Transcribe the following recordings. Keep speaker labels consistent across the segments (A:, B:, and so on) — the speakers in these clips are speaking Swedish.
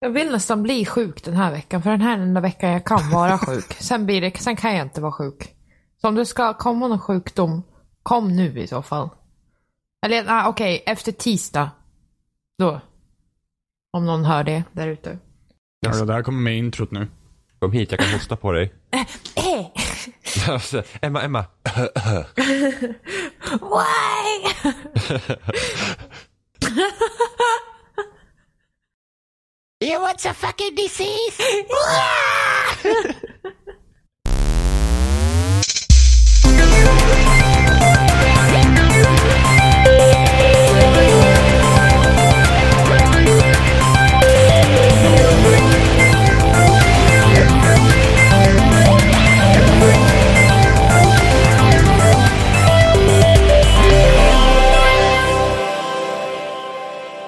A: Jag vill nästan bli sjuk den här veckan, för den här är den enda veckan jag kan vara sjuk. Sen, blir det, sen kan jag inte vara sjuk. Så om det ska komma någon sjukdom, kom nu i så fall. Eller ah, okej, efter tisdag. Då. Om någon hör det där ute.
B: Ja, det där kommer med i introt nu.
C: Kom hit, jag kan hosta på dig. Alltså, Emma, Emma.
A: Why?
D: You want some fucking disease?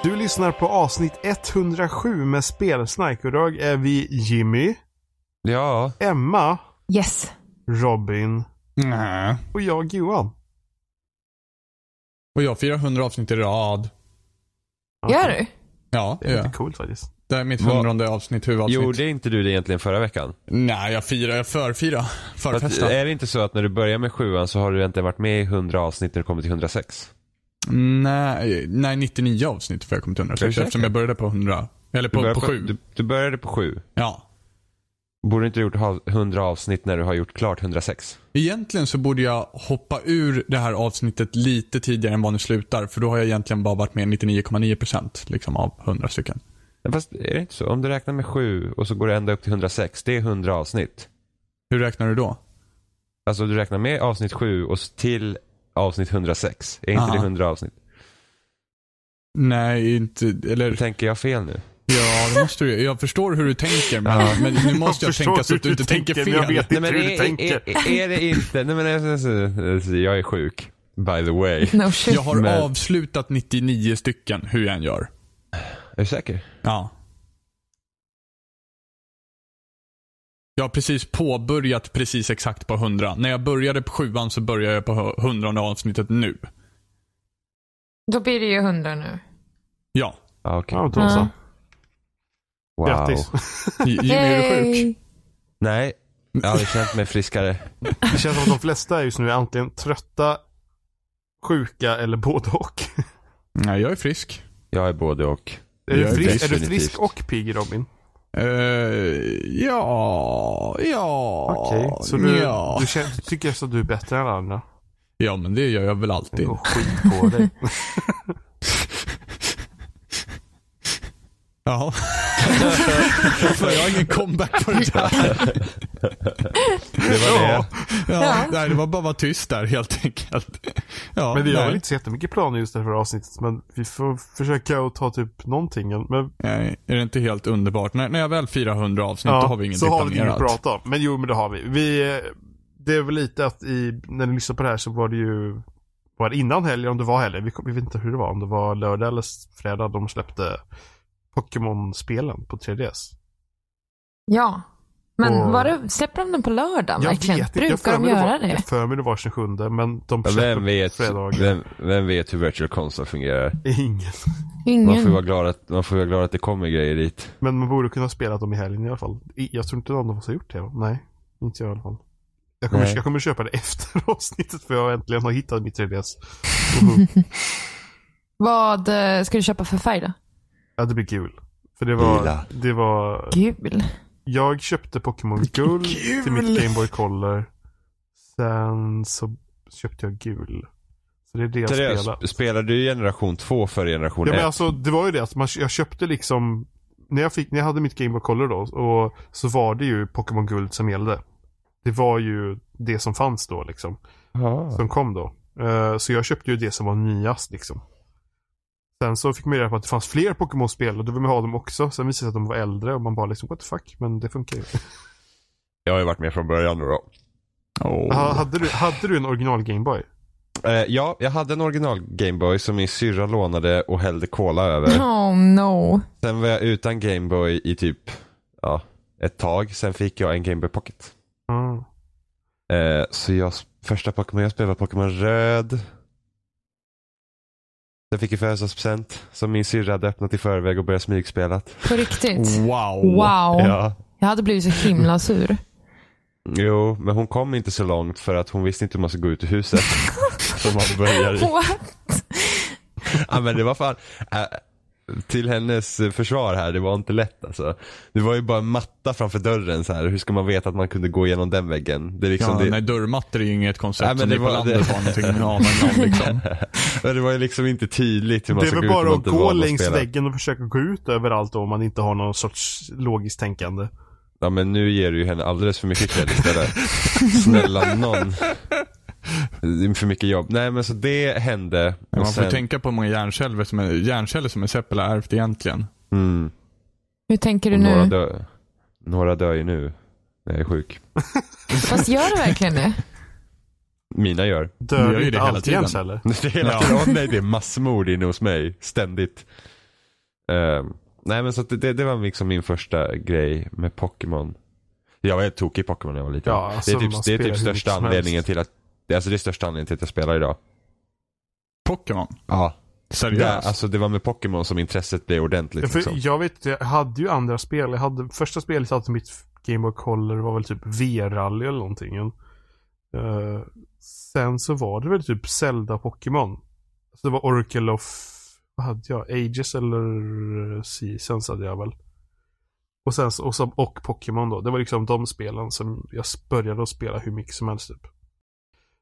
E: Du lyssnar på avsnitt 107 med Spelsnack och idag är vi Jimmy,
C: Ja,
E: Emma,
A: Yes.
E: Robin
B: Nej.
E: och jag Johan.
B: Och jag firar 100 avsnitt i rad.
A: Gör du?
B: Ja,
E: Det är
B: ja.
E: lite coolt faktiskt.
B: det är mitt
C: Vad-
B: hundrade avsnitt, huvudavsnitt.
C: gjorde inte du det egentligen förra veckan?
B: Nej, jag firar, jag förfirar.
C: För att, eh,
B: Förfestar.
C: är det inte så att när du börjar med sjuan så har du egentligen varit med i 100 avsnitt när du kommer till 106?
B: Nej, nej, 99 avsnitt för jag kom till 106
C: säker?
B: eftersom jag började på 100. Eller
C: Du,
B: på,
C: börjar
B: på 7.
C: Du, du började på 7.
B: Ja.
C: Borde inte du gjort ha- 100 avsnitt när du har gjort klart 106?
B: Egentligen så borde jag hoppa ur det här avsnittet lite tidigare än vad nu slutar. För då har jag egentligen bara varit med 99,9% liksom av 100 stycken.
C: Ja, Fast är det inte så? Om du räknar med 7 och så går det ända upp till 106, det är 100 avsnitt.
B: Hur räknar du då?
C: Alltså du räknar med avsnitt 7 och s- till avsnitt 106. Är inte
B: Aha.
C: det 100 avsnitt?
B: Nej, inte, eller
C: Tänker jag fel nu?
B: ja, det måste du Jag förstår hur du tänker, men, men nu måste jag,
E: förstår
B: tänka så
E: hur
B: att du
E: du
B: inte tänker,
E: tänker, men jag
B: fel.
E: vet- inte hur du
C: är,
E: tänker.
C: är, är, är det inte? Nej men alltså, alltså, jag är sjuk. By the way.
A: No shit.
B: Jag har
C: Men-
B: avslutat 99 stycken, hur jag än gör.
C: Är du säker?
B: Ja. Jag har precis påbörjat precis exakt på 100. När jag började på sjuan så börjar jag på 100 avsnittet nu.
A: Då blir det ju hundra nu.
B: Ja.
C: Ja, Ah, okej.
E: Ja, då så.
A: Ja.
C: Wow.
E: Grattis.
B: J- Jimmy, är du sjuk?
A: Yay.
C: Nej, jag har aldrig känt mig friskare.
E: Det känns som att de flesta just nu är antingen trötta, sjuka eller både och.
B: Nej, jag är frisk.
C: Jag är både och.
E: Är du
B: Jag är
E: frisk, är du
C: definitivt.
E: frisk och pigg Robin?
B: Eh, ja, ja,
E: Okej. Så du,
B: ja.
E: du, känner, du tycker alltså att du är bättre än alla andra?
B: Ja, men det gör jag väl alltid.
E: Och skit på dig.
B: Ja. För jag har ingen comeback på det där.
C: Det var det.
B: Ja,
A: Ja.
B: nej, det var bara att vara tyst där helt enkelt. Ja,
E: Men vi har
B: nej.
E: väl inte så jättemycket planer just det här avsnittet. Men vi får försöka att ta typ någonting. Men,
B: Nej, är det inte helt underbart? När, när jag väl firar 100 avsnitt då har vi
E: så
B: ingenting
E: har vi inget
B: planerat.
E: att prata om. Men jo, men det har vi. vi. eh, Det är väl lite att i, när ni lyssnar på det här så var det ju var det innan helgen, om det var helgen. Vi, kom- vi vet inte hur det var. Om det var lördag eller s- fredag de släppte Pokémon-spelen på 3DS.
A: Ja. Men
E: Och-
A: var det, släpper de den på lördagen verkligen?
E: Jag
A: Brukar
E: för
A: de
E: mig
A: göra
E: var,
A: det?
E: Jag för mig det var 27, men de
C: Vem
E: släppte
C: vet,
E: på fredagar.
C: vem, vem vet hur virtual console fungerar?
E: Ingen.
C: Man får,
A: Ingen.
C: vara glad att, man får vara glad att det kommer grejer dit.
E: Men man borde kunna spela dem i helgen i alla fall. I- Jag tror inte någon av oss har gjort det. va? Nej, inte jag i alla fall. Jag kommer,
C: Nej.
E: jag kommer köpa det efter avsnittet för jag äntligen har hittat mitt 3DS.
A: Vad eh, ska du köpa för färg då?
E: Ja, det blir gul. För det var,
C: Gula.
E: det var...
A: Gul.
E: Jag köpte Pokémon guld till mitt Game Boy Color. Sen så köpte jag gul. Så det är det jag
C: Therese,
E: spelar.
C: spelar du generation 2 för generation
E: Ja,
C: 1?
E: men alltså, det var ju det att man, jag köpte liksom... När jag, fick, när jag hade mitt Game Boy Color då, och, så var det ju Pokémon guld som gällde. Det var ju det som fanns då liksom. som kom då. Eh, Så jag köpte ju det som var nyast liksom. Sen så fick man ju reda på att det fanns fler Pokémon-spel och då vill man ha dem också. Sen visade det sig att de var äldre och man bara liksom what the fuck, men det funkar ju.
C: Jag har ju varit med från början nu då.
B: Åh.
E: Ha- Hade, du, hade du en original Gameboy?
C: Eh, ja, jag hade en original Gameboy som min syrra lånade och hällde cola över.
A: Oh no.
C: Sen var jag utan Gameboy i typ, ja, ett tag. Sen fick jag en Gameboy Pocket.
E: Mm.
C: Eh, så jag, första Pokémon jag spelade var Pokémon Röd. Jag fick i födelsedagspresent som min syrra hade öppnat i förväg och börjat smygspela.
A: På riktigt.
B: Wow.
A: Wow.
C: Ja.
A: Jag hade blivit så himla sur.
C: Jo, men hon kom inte så långt för att hon visste inte hur man skulle gå ut ur huset. som man börjar i.
A: What?
C: Ja, men det var fan. Äh, till hennes eh, försvar här, det var inte lätt alltså. Det var ju bara en matta framför dörren så här. Hur ska man veta att man kunde gå igenom den väggen? Det, är liksom,
B: Ja,
C: det,
B: Nej, dörrmattor är ju inget koncept
C: Nej, men
B: som
C: det
B: ni på
C: var-
B: landet
C: det-
B: har någonting aning om. Liksom.
C: men det var ju liksom inte tydligt hur man
E: Det är
C: ska gå
E: väl
C: ut. om man
E: bara att
C: inte
E: gå
C: var med
E: längs
C: spela.
E: väggen och försöka gå ut överallt om man inte har någon sorts logiskt tänkande.
C: Ja men nu ger du ju henne alldeles för mycket cred istället. Snälla någon. Det är För mycket jobb. Nej men så det hände.
B: Men
C: Och
B: Man får
C: sen,
B: tänka på hur många hjärnceller som, är, hjärnceller som är Seppel har ärvt egentligen.
C: mm,
A: Hur tänker du
C: och några,
A: nu?
C: dö, några dör ju nu. När jag är sjuk.
A: Fast gör du verkligen det?
C: Mina gör.
B: Du gör
E: Dör
B: ju
E: inte
B: det hela
E: allt
B: tiden.
E: jäms heller.
C: Det är hela tiden, Åh, nej det är massmord inne hos mig. Ständigt. Ehm, nej men så att det- det, det var liksom min första grej med Pokémon. Jag var helt tokig i Pokémon när jag var liten.
E: Ja, alltså,
C: det är
E: man
C: typ, det är
E: spelar hur
C: typ
E: mycket
C: största
E: som
C: anledningen
E: helst.
C: till att, det- alltså det är största anledningen till att jag spelar idag.
B: Pokémon.
C: Ja. Det,
B: Seriöst.
C: alltså det var med Pokémon som intresset blev ordentligt.
E: Ja, för
C: liksom.
E: jag vet jag hade ju andra spel. Jag hade, första spelet jag hade till mitt Game Boy Color var väl typ V-rally eller någonting. Eh, sen så var det väl typ Zelda Pokémon. Så det var Oracle of, vad hade jag? Ages eller Seasons hade jag väl. Och sen så- och, så, och Pokémon då. Det var liksom de spelen som jag började att spela hur mycket som helst typ.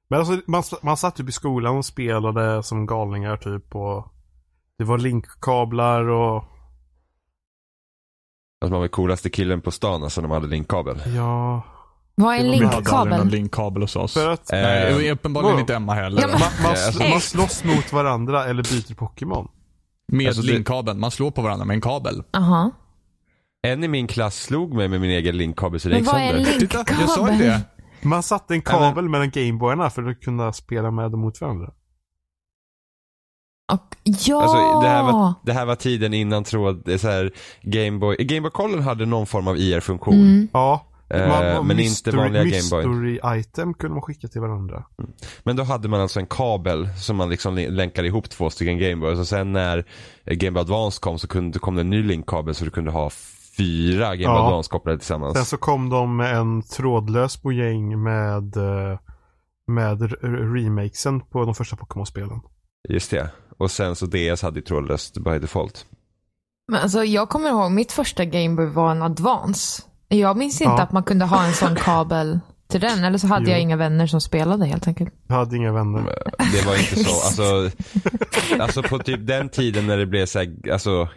E: Men alltså man, man satt typ i skolan och spelade som galningar typ och det var linkkablar och
C: Alltså man var coolaste killen på stan alltså när man hade linkkabel.
E: Ja.
A: Vad är en
B: Vi hade aldrig någon
A: linkkabel?
B: linkkabel hos oss.
E: För att
C: Eh,
B: Nej, och uppenbarligen
E: vadå?
B: inte Emma heller.
A: Ja,
B: då.
A: men-
E: man, man,
C: eh, alltså-
E: man slåss mot varandra eller byter Pokémon.
B: Med
C: Alltså, det-
B: linkkabeln. Man slår på varandra med en kabel.
A: Aha.
C: En i min klass slog mig med min egen linkkabel så Liksom det
A: Men
C: gick
A: vad är en
C: sönder.
B: Titta, jag sa ju
A: linkkabel?
B: det.
E: Man satte en kabel mellan Gameboyarna för att kunna spela med dem mot varandra.
A: Och, ja!
C: Alltså, det, här var, det här var tiden innan tråd, det är så här, Gameboy, Gameboy Color hade någon form av E IR-funktion.
A: Mm.
E: Ja.
C: Eh, men inte vanliga Gameboy.
E: Mystery item kunde man skicka till varandra.
C: Men då hade man alltså en kabel som man liksom li- länkade ihop två stycken Gameboy. Och sen när eh, Gameboy Advance kom så kunde, kom det en ny linkkabel så du kunde ha fyra Gameboy
E: Ja.
C: Advance kopplade tillsammans.
E: Sen så kom de med en trådlös bojäng med, eh, med r- r- remakesen på de första Pokémon-spelen.
C: Just det. Och sen så DS hade ju trådlöst by default.
A: Men alltså, jag kommer ihåg, mitt första Gameboy var en Advance. Jag minns inte
E: Ja.
A: att man kunde ha en sån kabel till den. Eller så hade
E: Jo.
A: jag inga vänner som spelade helt enkelt.
E: Jag hade inga vänner.
C: Det var inte så. Alltså, alltså på typ den tiden när det blev så här, alltså,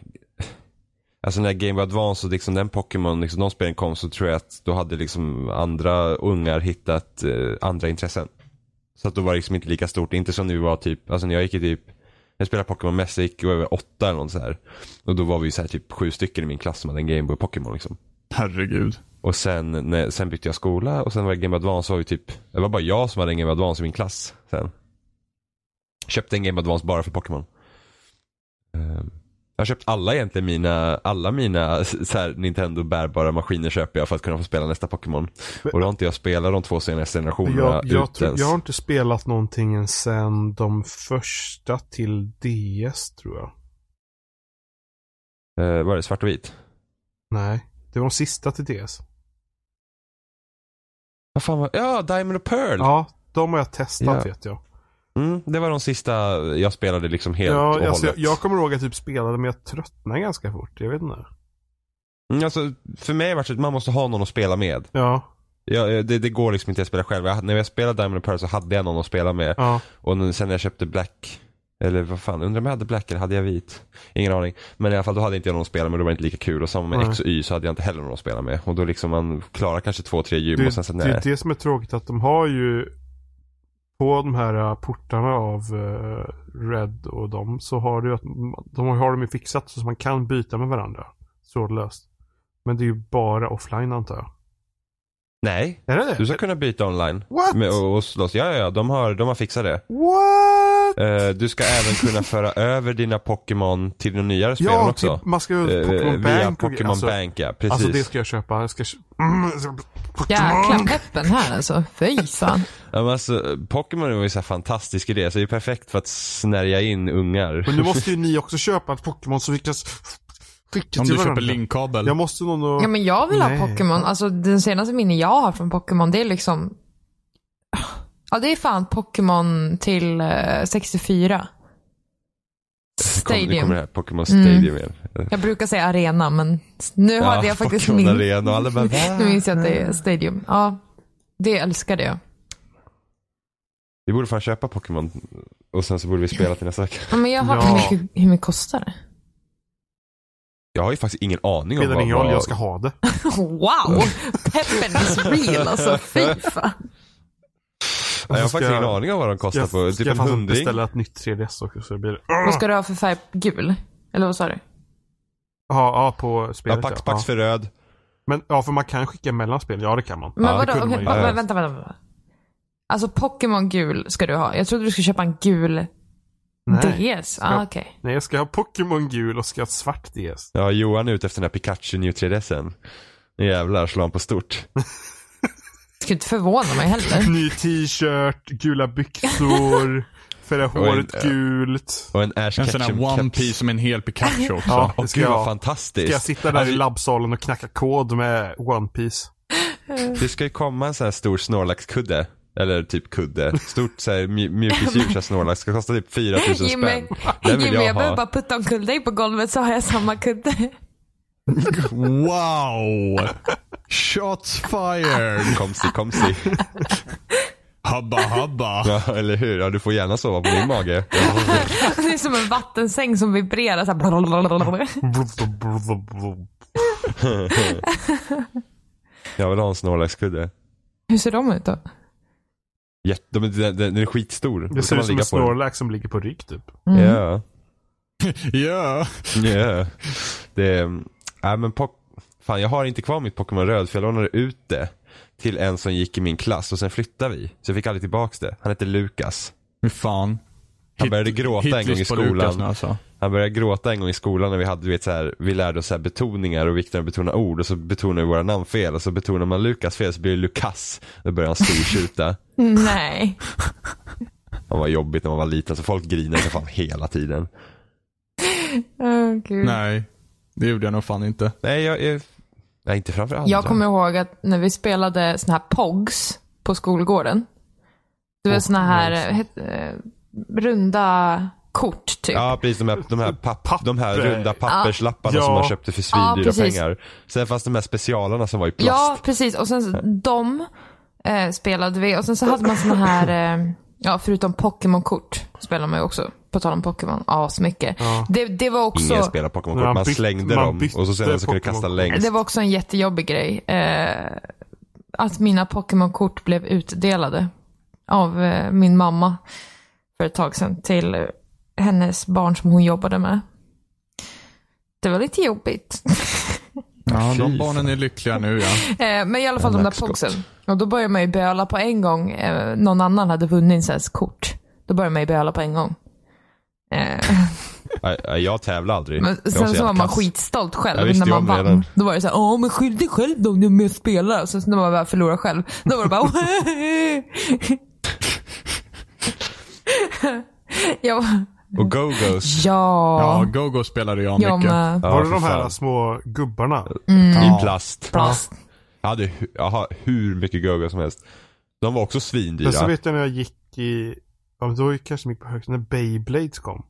C: alltså när Game Boy Advance och liksom den Pokémon, liksom de spelen kom så tror jag att då hade liksom andra ungar hittat eh, andra intressen. Så att då var det liksom inte lika stort, inte som nu var typ, alltså när jag gick i typ, jag spelade Pokémon mest, jag gick över åtta eller något så här. Och då var vi ju så här typ sju stycken i min klass som hade en Game Boy Pokémon liksom.
B: Herregud.
C: Och sen, när, sen bytte jag skola och sen var det Game Boy Advance var ju typ, det var bara jag som hade en Game Boy Advance i min klass sen. Köpte en Game Boy Advance bara för Pokémon. Ehm, Jag har köpt alla egentligen mina, alla mina så här, Nintendo bärbara maskiner köper jag för att kunna få spela nästa Pokémon. Och då har inte jag spelat de två senaste generationerna
E: Jag, jag,
C: ut
E: tror,
C: ens.
E: jag har inte spelat någonting sen de första till DS tror jag.
C: Eh, var det svart och vit?
E: Nej, det var de sista till DS.
C: Vad fan var, ja Diamond och Pearl!
E: Ja, de har jag testat
C: Ja.
E: vet jag.
C: Mm, det var de sista jag spelade liksom helt och
E: Ja,
C: hållet.
E: alltså, jag, jag kommer ihåg att jag typ spelade men jag tröttnade ganska fort. Jag vet inte.
C: Mm, alltså, för mig har det varit så att man måste ha någon att spela med.
E: Ja,
C: Ja, eh, det, det går liksom inte att spela själv. Jag, hade- när jag spelade Diamond and Pearl så hade jag någon att spela med.
E: ja.
C: Och nu, sen när jag köpte Black, eller vad fan, undrar om jag hade Black eller hade jag vit? Ingen aning. Men i alla fall då hade inte jag någon att spela med, då var det inte lika kul. Och samma med
E: Nej.
C: X och Y så hade jag inte heller någon att spela med. Och då liksom man klarar kanske två, tre gym
E: Det,
C: och sen så
E: det
C: nej.
E: är det som är tråkigt att de har ju på de här eh, portarna av eh, Red och dem så har du att de har dem ju fixat så att man kan byta med varandra. Trådlöst. Men det är ju bara offline antar jag.
C: Nej,
E: Är det det?
C: du ska kunna byta online.
E: What?
C: Med, och, och slåss. Ja, ja, ja, de har, de har fixat det.
E: What?
C: Eh, du ska även kunna föra över dina Pokémon till de nyare spelen
E: Ja,
C: också.
E: typ, man ska
C: Eh,
E: ju Pokémon
C: via
E: Bank och
C: Pokémon
E: alltså,
C: Bank, ja. Precis.
E: Alltså det ska jag köpa. Jag ska... kö- Mm, jag ska-
A: Jäklar peppen här alltså. Fy fan.
C: Ja, men alltså, Pokémon var ju så här fantastisk idé, så det är ju perfekt för att snärja in ungar.
E: Men nu måste ju ni också köpa ett Pokémon som vi kan s- skicka
B: Om
E: till
B: du köper
E: varandra.
B: linkkabel.
E: Jag måste någon och...
A: Ja men jag vill
E: Nej.
A: ha Pokémon. Alltså den senaste minne jag har från Pokémon det är liksom... Ja det är fan Pokémon till eh, 64.
C: Kom- Nu
A: Stadium.
C: kommer det här Pokémon Stadium igen.
A: Jag brukar säga arena men nu hade jag faktiskt
C: Pokémon
A: min...
C: Arena och alla bara, "Va?"
A: Nu minns jag att det är Stadium. Ja, det älskade jag.
C: Vi borde fan köpa Pokémon och sen så borde vi spela till nästa vecka.
A: Ja, men jag har...
E: Ja.
A: Hur, mycket, hur mycket kostar det?
C: Jag har ju faktiskt ingen aning om
E: Spelar
C: vad,
E: ingen roll,
C: vad...
E: jag ska ha det.
A: Wow! Peppen is real alltså. Fy fan.
C: Nej, jag har
E: Ska-
C: faktiskt ingen aning om vad de kostar
E: Jag
C: på.
E: ska
C: Typ en
E: fan
C: hundring.
E: beställa ett nytt 3DS också så det blir...
A: Vad ska du ha för färg? Gul? Eller vad sa du?
E: Ja, ja på
C: Ja,
E: spelet.
C: pax, pax för röd.
E: Men, ja, för man kan skicka mellan spel. Ja, det kan man.
A: Men
C: Ja, det
A: vadå?
E: kunde man
A: Okej,
E: ju.
A: men vänta, vänta, vänta. Alltså Pokémon gul ska du ha. Jag trodde du skulle köpa en gul
E: Nej.
A: DS. Ah, okej.
E: Nej, jag ska ha Pokémon gul och ska ha ett svart DS.
C: Ja, Johan är ute efter den här Pikachu New 3DSen. Nu jävlar slår han på stort.
A: Skulle inte förvåna mig heller.
E: Ny t-shirt, gula byxor, färga håret
C: en, eh,
E: gult.
C: Och en Ash
B: en sån
C: Ketchum
B: här One
C: keps.
B: Piece som en hel Pikachu också.
E: Ja,
C: Åh
E: det ska
C: gud
E: jag
C: vad
E: ha.
C: fantastiskt.
E: Ska jag sitta där i labbsalen och knacka kod med One Piece?
C: Det ska ju komma en sån här stor Snorlax-kudde. Eller typ kudde. Stort så här mj- mjukisdjur så här Snorlax. Ska kosta typ 4000
A: Jimmy,
C: spänn. Den vill
A: Jimmy jag
C: jag
A: behöver bara
C: ha.
A: putta omkull dig på golvet så har jag samma kudde.
B: Wow! Shots fired!
C: Komsi, komsi.
B: Habba habba.
C: Ja, eller hur? Ja, du får gärna sova på min mage.
A: Det är som en vattensäng som vibrerar så här. blablabla.
C: Jag vill ha en Snorlax-kudde.
A: Hur ser de ut då?
C: Jätte- de- Den, den, den är skitstor. Då
E: Det
C: kan
E: ser
C: man
E: ut som
C: ligga
E: en
C: på den.
E: Snorlax som ligger på rygg typ.
C: Ja.
B: Ja.
E: Mm.
C: Ja. Det, äh, men Pok- fan jag har inte kvar mitt Pokémon Röd för jag lånade ut det till en som gick i min klass och sen flyttade vi. Så jag fick aldrig tillbaks det. Han hette Lukas.
B: Fy fan.
C: Han började gråta en gång i
B: hitlist på
C: skolan.
B: Lukas nu alltså.
C: Han började gråta en gång i skolan när vi hade, du vet, så här, vi lärde oss så här betoningar och vikten av att betona ord och så betonar vi våra namn fel och så betonar man Lukas fel så blir det Lukas. Då började han stortjuta.
A: Nej.
C: Han var jobbigt när man var liten så folk grinade för fan hela tiden.
A: Åh, gud.
B: Nej, det gjorde jag nog fan inte.
C: Nej, jag är... Nej, inte framför andra.
A: Jag kommer ihåg att när vi spelade såna här POGs på skolgården. Det var såna här het, eh, runda kort typ.
C: Ja, precis. De här, de här, papp, de här
E: Papper.
C: runda papperslapparna
E: Ja.
C: som man köpte för svindyra
A: precis.
C: pengar. Sen fanns de här specialerna som var i
A: Ja,
C: plast.
A: precis. Och sen så- de eh, spelade vi. Och sen så hade man såna här, eh, ja förutom Pokémon-kort spelade man ju också. På tal om Pokémon, asmycket. Det, det var också...
C: Ingen spelade Pokémon-kort. Man,
E: Man bytte-
C: slängde
E: man
C: dem
E: bytte
C: och så sen så kunde du
E: Pokémon-kort.
C: kasta längst.
A: Det var också en jättejobbig grej. Eh, att mina Pokémon-kort blev utdelade av eh, min mamma för ett tag sedan till eh, hennes barn som hon jobbade med. Det var lite jobbigt.
B: Ja,
C: Fy
B: de
C: fan.
B: barnen är lyckliga nu ja.
A: Eh, men i alla fall de där
C: Nackskott.
A: pogsen. Och då började man ju böla på en gång. Eh, någon annan hade vunnit ens kort. Då började man ju böla på en gång. Eh,
C: Nej, nej, Jag tävlade aldrig. Jag
A: men sen
C: så
A: så
C: jävla
A: var man
C: kass.
A: skitstolt
C: Jag
A: själv
C: visste
A: när
C: ju
A: man
C: om det redan.
A: vann. Då var det så här, ja men skyll dig själv då om du är med och spelar. Och sen så när man väl förlorar själv, då var det bara Jag bara,
C: Och go-go's.
B: Ja,
A: ja,
B: Go-Go spelade jag
A: jag
B: mycket.
A: med. Mm.
C: Ja,
E: Har du
C: för
E: de här
C: fan.
E: små gubbarna?
B: Ja.
C: I plast.
A: Plast.
C: Jag hade hu- jag har hur mycket go-go som helst. De var också svindyra.
E: Men så vet jag när jag gick i, ja, men då gick jag kanske mycket på högstadiet, när Beyblades kom.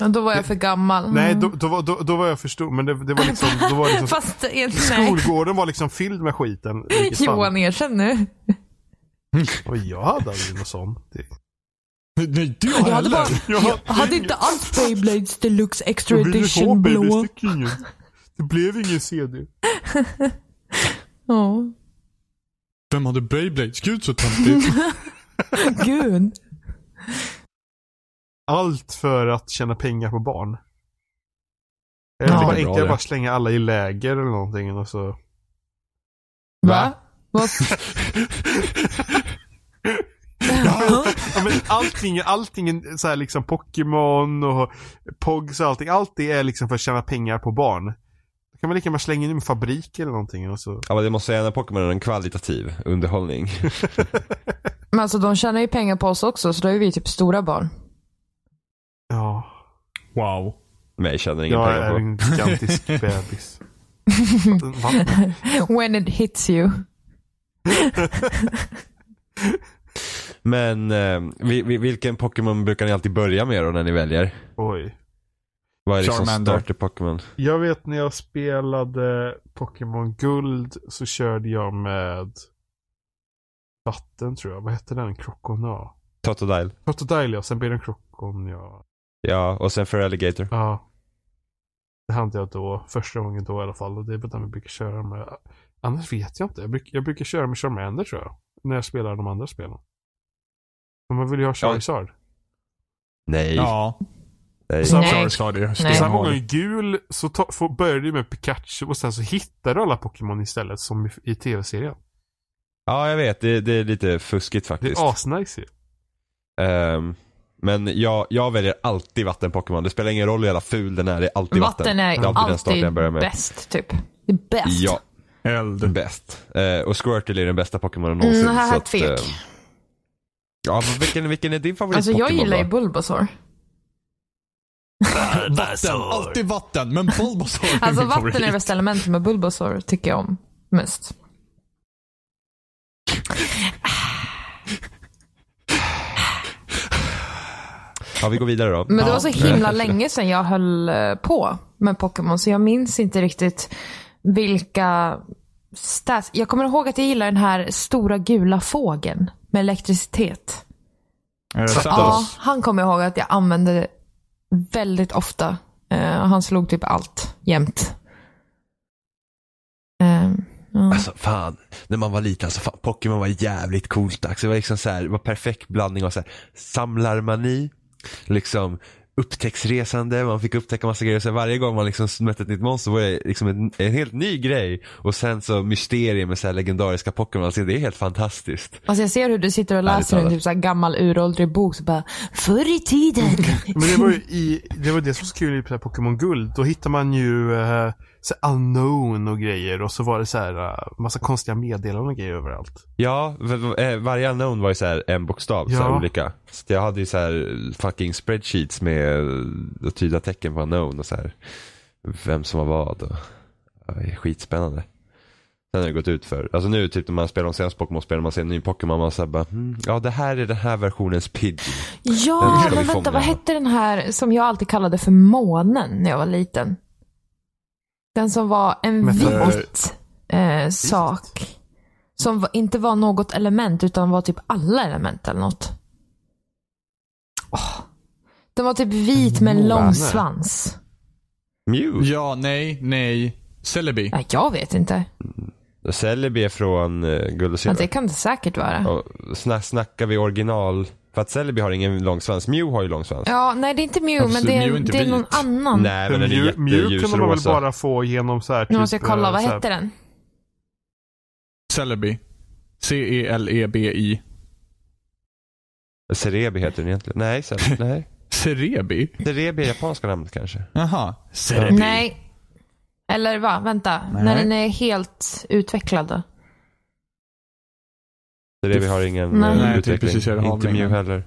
A: Ja, Då var jag för gammal. Mm.
E: Nej, då, då, var, då, då var jag för stor, men det, det var liksom, då var liksom
A: Fast, eh, nej.
E: skolgården var liksom fylld med skiten. vilket fan-
A: Johan, erkänn nu.
E: Och jag hade aldrig någon sån. Det-
B: Nej, du
A: Jag hade, bara,
B: heller.
A: jag hade inte alls Beyblades Deluxe Extra
E: Jag ville ha
A: Edition
E: Beyblades,
A: blå.
E: det gick ingen. Det blev ingen CD.
A: Ja,
B: Vem hade Beyblades? Gud så töntigt.
A: gud.
E: Allt för att tjäna pengar på barn. Eller
A: Ja.
E: det var
B: Det är bra
E: enklare
B: det.
E: bara att slänga alla i läger eller någonting. Och så.
A: Va? Vad?
B: Ja,
E: Ja, men allting, allting så här liksom Pokémon och Pogs och allting. Allt det är liksom för att tjäna pengar på barn. Då kan man lika gärna slänga in en fabrik eller någonting. Och så.
C: Ja men det måste jag säga, den här Pokémon är en kvalitativ underhållning.
A: Men alltså de tjänar ju pengar på oss också, så då är vi typ stora barn.
E: Ja,
B: Wow.
C: Mig känner ingen
E: jag
C: pengar
E: är
C: på.
E: en gigantisk bebis. Va?
A: When it hits you.
C: Men eh, vi, vi, vilken Pokémon brukar ni alltid börja med då när ni väljer?
E: Oj.
C: Vad är liksom
B: Charmander.
C: starter Pokémon?
E: Jag vet när jag spelade Pokémon Guld så körde jag med vatten tror jag. Vad hette den? Krokona?
C: Totodile.
E: Crocodile ja, sen blev den Krokon ja.
C: Ja, och sen för Alligator.
E: Ja. Det hade jag då, första gången då i alla fall. Och det är väl den vi brukar köra med. Annars vet jag inte. Jag, bruk, jag brukar köra med Charmander tror jag. När jag spelar de andra spelen. Men man vill ju ha Charizard.
C: Nej.
B: Ja.
C: nej.
A: Så- Nej.
B: Charizard är
A: Nej.
E: Samma gång
B: stenhård.
E: i gul så ta, får, började du med Pikachu och sen så hittar du alla Pokémon istället som i, i tv-serien.
C: Ja, jag vet. Det, det är lite fuskigt
E: Det är
C: faktiskt.
E: asnice ju.
C: Ehm, men jag, jag väljer alltid vatten-Pokémon. Det spelar ingen roll hur jävla ful den är. Det är alltid vatten.
A: Vatten är
C: det är alltid, den starten jag börjar
A: alltid
C: med.
A: bäst typ. Det är bäst.
C: Ja,
B: Eld.
C: bäst. Eh, och Squirtle är den bästa Pokémonen
A: Mm,
C: någonsin.
A: här
C: så
A: är
C: att,
A: tvek.
C: ehm, ja, men vilken, vilken är din favorit
A: alltså jag
C: Pokémon
A: gillar ju
C: då?
A: Bulbasaur.
B: Vatten. Alltid vatten. Men Bulbasaur är
A: Alltså
B: min
A: vatten är det
B: favorit.
A: bästa elementet med Bulbasaur tycker jag om mest.
C: Ja, vi går vidare då.
A: Men det
B: Ja.
A: var så himla länge sedan jag höll eh, på med Pokémon så jag minns inte riktigt vilka stats. Jag kommer ihåg att jag gillar den här stora gula fågeln med elektricitet.
B: Eh,
A: Ja,
B: Zapdos.
A: han kommer ihåg att jag använde väldigt ofta. Eh, han slog typ allt jämt. Eh, ja.
C: Alltså fan, när man var liten, alltså fan, Pokémon var jävligt coolt. Alltså, det var liksom så här, det var perfekt blandning av så här, samlarmani, liksom upptäcktsresande, man fick upptäcka massa grejer. Så här, varje gång man liksom mötte ett nytt monster var det liksom en, en helt ny grej. Och sen så mysterier med så här legendariska Pokémon, alltså, det är helt fantastiskt.
A: Alltså jag ser hur du sitter och
C: Ärligt
A: läser en
C: talat.
A: typ så här gammal uråldrig bok så bara Förr i tiden.
E: Men det var ju i, det var det som var så kul i så här Pokémon Guld. Då hittar man ju eh, så här unknown och grejer och så var det så här eh, massa konstiga meddelanden och grejer överallt.
C: Ja, v- v- eh, varje unknown var ju så här en bokstav, så här
E: Ja.
C: olika. Så jag hade ju så här fucking spreadsheets med eh, att tyda tecken på unknown och så här vem som var vad. Och, ja, det är skitspännande. Sen har det gått ut för. Alltså nu typ när man spelar de senaste Pokémon-spelen, man ser en ny Pokémon, man säger bara "Hmm, ja det här är den här versionens Pidgey. Den
A: ja,
C: ska vi
A: men vänta
C: fånga.
A: vad hette den här som jag alltid kallade för månen när jag var liten? Den som var en
E: Metabolt.
A: vit eh, sak. Som var, inte var något element utan var typ alla element eller något. Åh. Den var typ vit med en lång
E: Måne.
A: svans.
C: Mew.
B: Ja, nej, nej. Celebi.
A: Nej, jag vet inte.
C: Celebi är från eh, Guld och
A: Men
C: Silver.
A: det kan det säkert vara.
C: Och sna- snackar vi original, för att Celebi har ingen lång svans, Mew har ju lång svans.
A: Ja, nej det är inte Mew,
B: Varför
A: men
B: ser
A: det är,
B: Mew inte
A: det är
B: vit?
A: någon annan.
C: Nej Äh, men den är
E: Mew, Mew kunde man väl
C: jätteljusrosa.
E: bara få genom så här
A: Nu måste jag kolla,
E: eh,
A: vad
E: så här-
A: hette den?
B: Celebi. E C-E-L-E-B-I.
C: Cerebi heter den egentligen. Nej, Celebi. Nej.
B: Cerebi?
C: Cerebi är japanska namnet kanske.
B: Jaha. Cerebi.
A: Nej. Eller va? Vänta.
B: Nej.
A: När den är helt utvecklad då?
C: Cerebi har ingen
A: Nej.
C: eh,
B: Nej, jag tycker
C: utveckling.
B: precis jag har
C: inte
B: det.
C: Mew heller.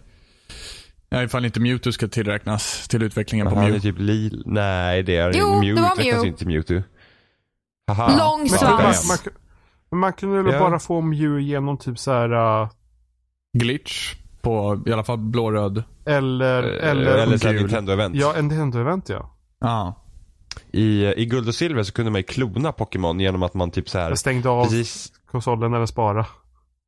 B: Ja, ifall inte Mewtwo ska tillräknas till utvecklingen
C: Men
B: på
C: han är
B: Mew.
C: typ lil. Nej, det är
A: Jo,
C: inte. Mew
A: det var
C: utvecklas
A: Mew.
C: ju inte till Mewtwo. Haha.
A: Lång
C: Ja,
E: Man, man,
A: svans.
C: damn.
E: man, man kunde väl
C: Ja.
E: bara få Mew genom typ så här eh,
B: Glitch på i alla fall blå-röd.
E: eller,
C: Eh,
E: eller,
C: Eller så här
B: gul.
C: Nintendo-event.
E: ja, en Nintendo-event ja.
B: Ja.
C: I, eh, I guld och silver så kunde man ju klona Pokémon genom att man typ så här.
E: Jag stängde av
C: Precis, Mm.
E: konsolen eller spara.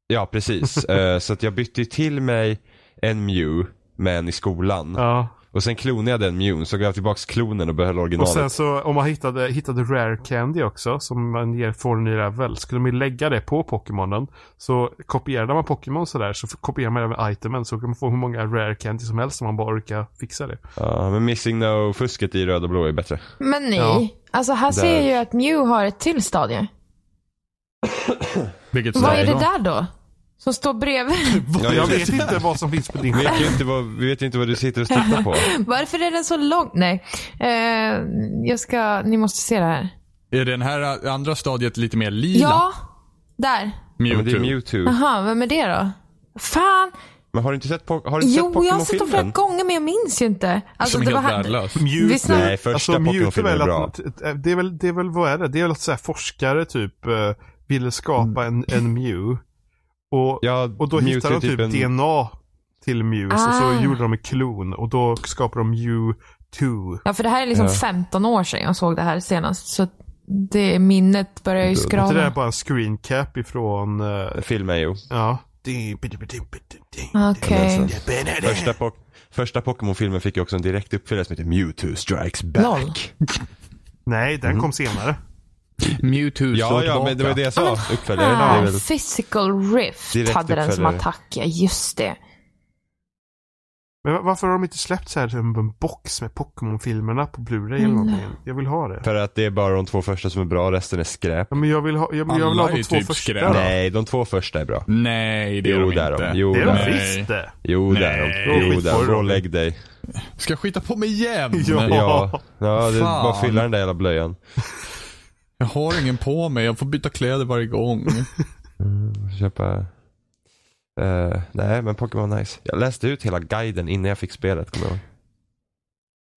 C: ja, precis. Eh, så att jag bytte ju till mig en Mew med en i skolan.
E: Ja.
C: Och sen klonade jag den Mewn, så gav jag tillbaka klonen och behöll
E: Och
C: originalet.
E: sen så om man hittade, hittade Rare Candy också som man ger, får en ny level. Skulle man lägga det på Pokémonen så kopierade man Pokémon sådär så kopierar man även itemen så kan man få hur många Rare Candy som helst om man bara orkar fixa det.
C: Ja, men Missing No-fusket i röd och blå är bättre.
A: Men nej.
E: Ja.
A: Alltså här ser jag
C: Där.
A: ju att Mew har ett till stadie.
B: Vilket
A: Vad
B: slag
A: är det
B: då?
A: där då? som står bredvid.
C: Ja,
E: jag
C: just det.
E: vet inte vad som finns på din
C: Vi
E: skärm.
C: vet ju inte vad, vi vet ju inte vad du sitter och tittar på.
A: Varför är den så lång? Nej. Eh, jag ska, ni måste se det här.
B: Är den här eh, andra stadiet lite mer lila?
A: Ja, där.
C: Ja, men det
B: Mewtwo.
C: är Mewtwo.
A: Jaha, vem är det då? Fan!
C: Men har du inte sett, po- har du inte sett
A: Jo, jag har sett dem flera
C: Pokémon-filmen?
A: gånger men jag minns ju inte. Alltså,
B: som är
A: det var
B: helt
A: han...
B: värdelös.
A: Vi
E: Mute.
A: snack-
C: Nej, första
E: Alltså Mute är
C: Pokémon-filmen
E: väl
C: är bra.
E: att, det är väl, det är väl, vad är det? Det är väl att så här, forskare typ eh, ville skapa en, en Mew. Och,
C: Mm. Ja,
E: och då
C: Mewtwo
E: hittade
C: är
E: de typ
C: en-
E: DNA till Mew. Så,
A: Ah.
E: så gjorde de en klon och då skapade de Mew 2.
A: Ja, för det här är liksom
C: Ja.
A: 15 år sedan jag såg det här senast. Så det minnet börjar ju
C: Det- det
E: Så det där är
A: skrava.
E: bara en screen cap ifrån, eh,
C: Filmen ju.
E: ja.
A: Okej.
C: Men Första, po- första Pokémon-filmen fick ju också en direkt uppföljare som heter Mewtwo Strikes Back.
A: Noll.
E: Nej, den kom senare.
B: Mewtwo
C: Ja,
B: slår
C: ja, men
B: tillbaka.
C: det var det jag sa. Uppföljare. Det är
A: Ah,
C: väl...
A: physical Rift
C: Direkt
A: hade den som
C: uppföljare.
A: attack, ja just det.
E: Men va- varför har de inte släppt så här typ en box med Pokémon-filmerna på Blu-ray eller
A: Mm.
E: någonting? Jag vill ha det.
C: För att det är bara de två första som är bra, resten är skräp.
E: Ja, men jag vill ha, jag, men jag vill ha
B: Alla är
E: de
B: ju
E: två
B: typ
E: första.
B: skräp. Ja.
C: Nej, de två första är bra.
B: Nej, det är
C: Jo,
B: de
C: det är de.
B: inte.
C: Jo,
E: Det är
C: Nej.
E: de visst det.
C: Jo, det är
B: Nej.
C: de. Jo,
E: Skit
C: det
E: på
C: är
E: dem.
C: de. Rå, lägg dig.
B: Ska jag skita på mig igen?
E: Ja.
C: Ja, ja det är
B: Fan.
C: bara att fylla den där jävla blöjan.
B: Jag har ingen på mig. Jag får byta kläder varje gång.
C: Köpa... Eh, nej, men Pokémon nice. Jag läste ut hela guiden innan jag fick spelet, kommer jag ihåg.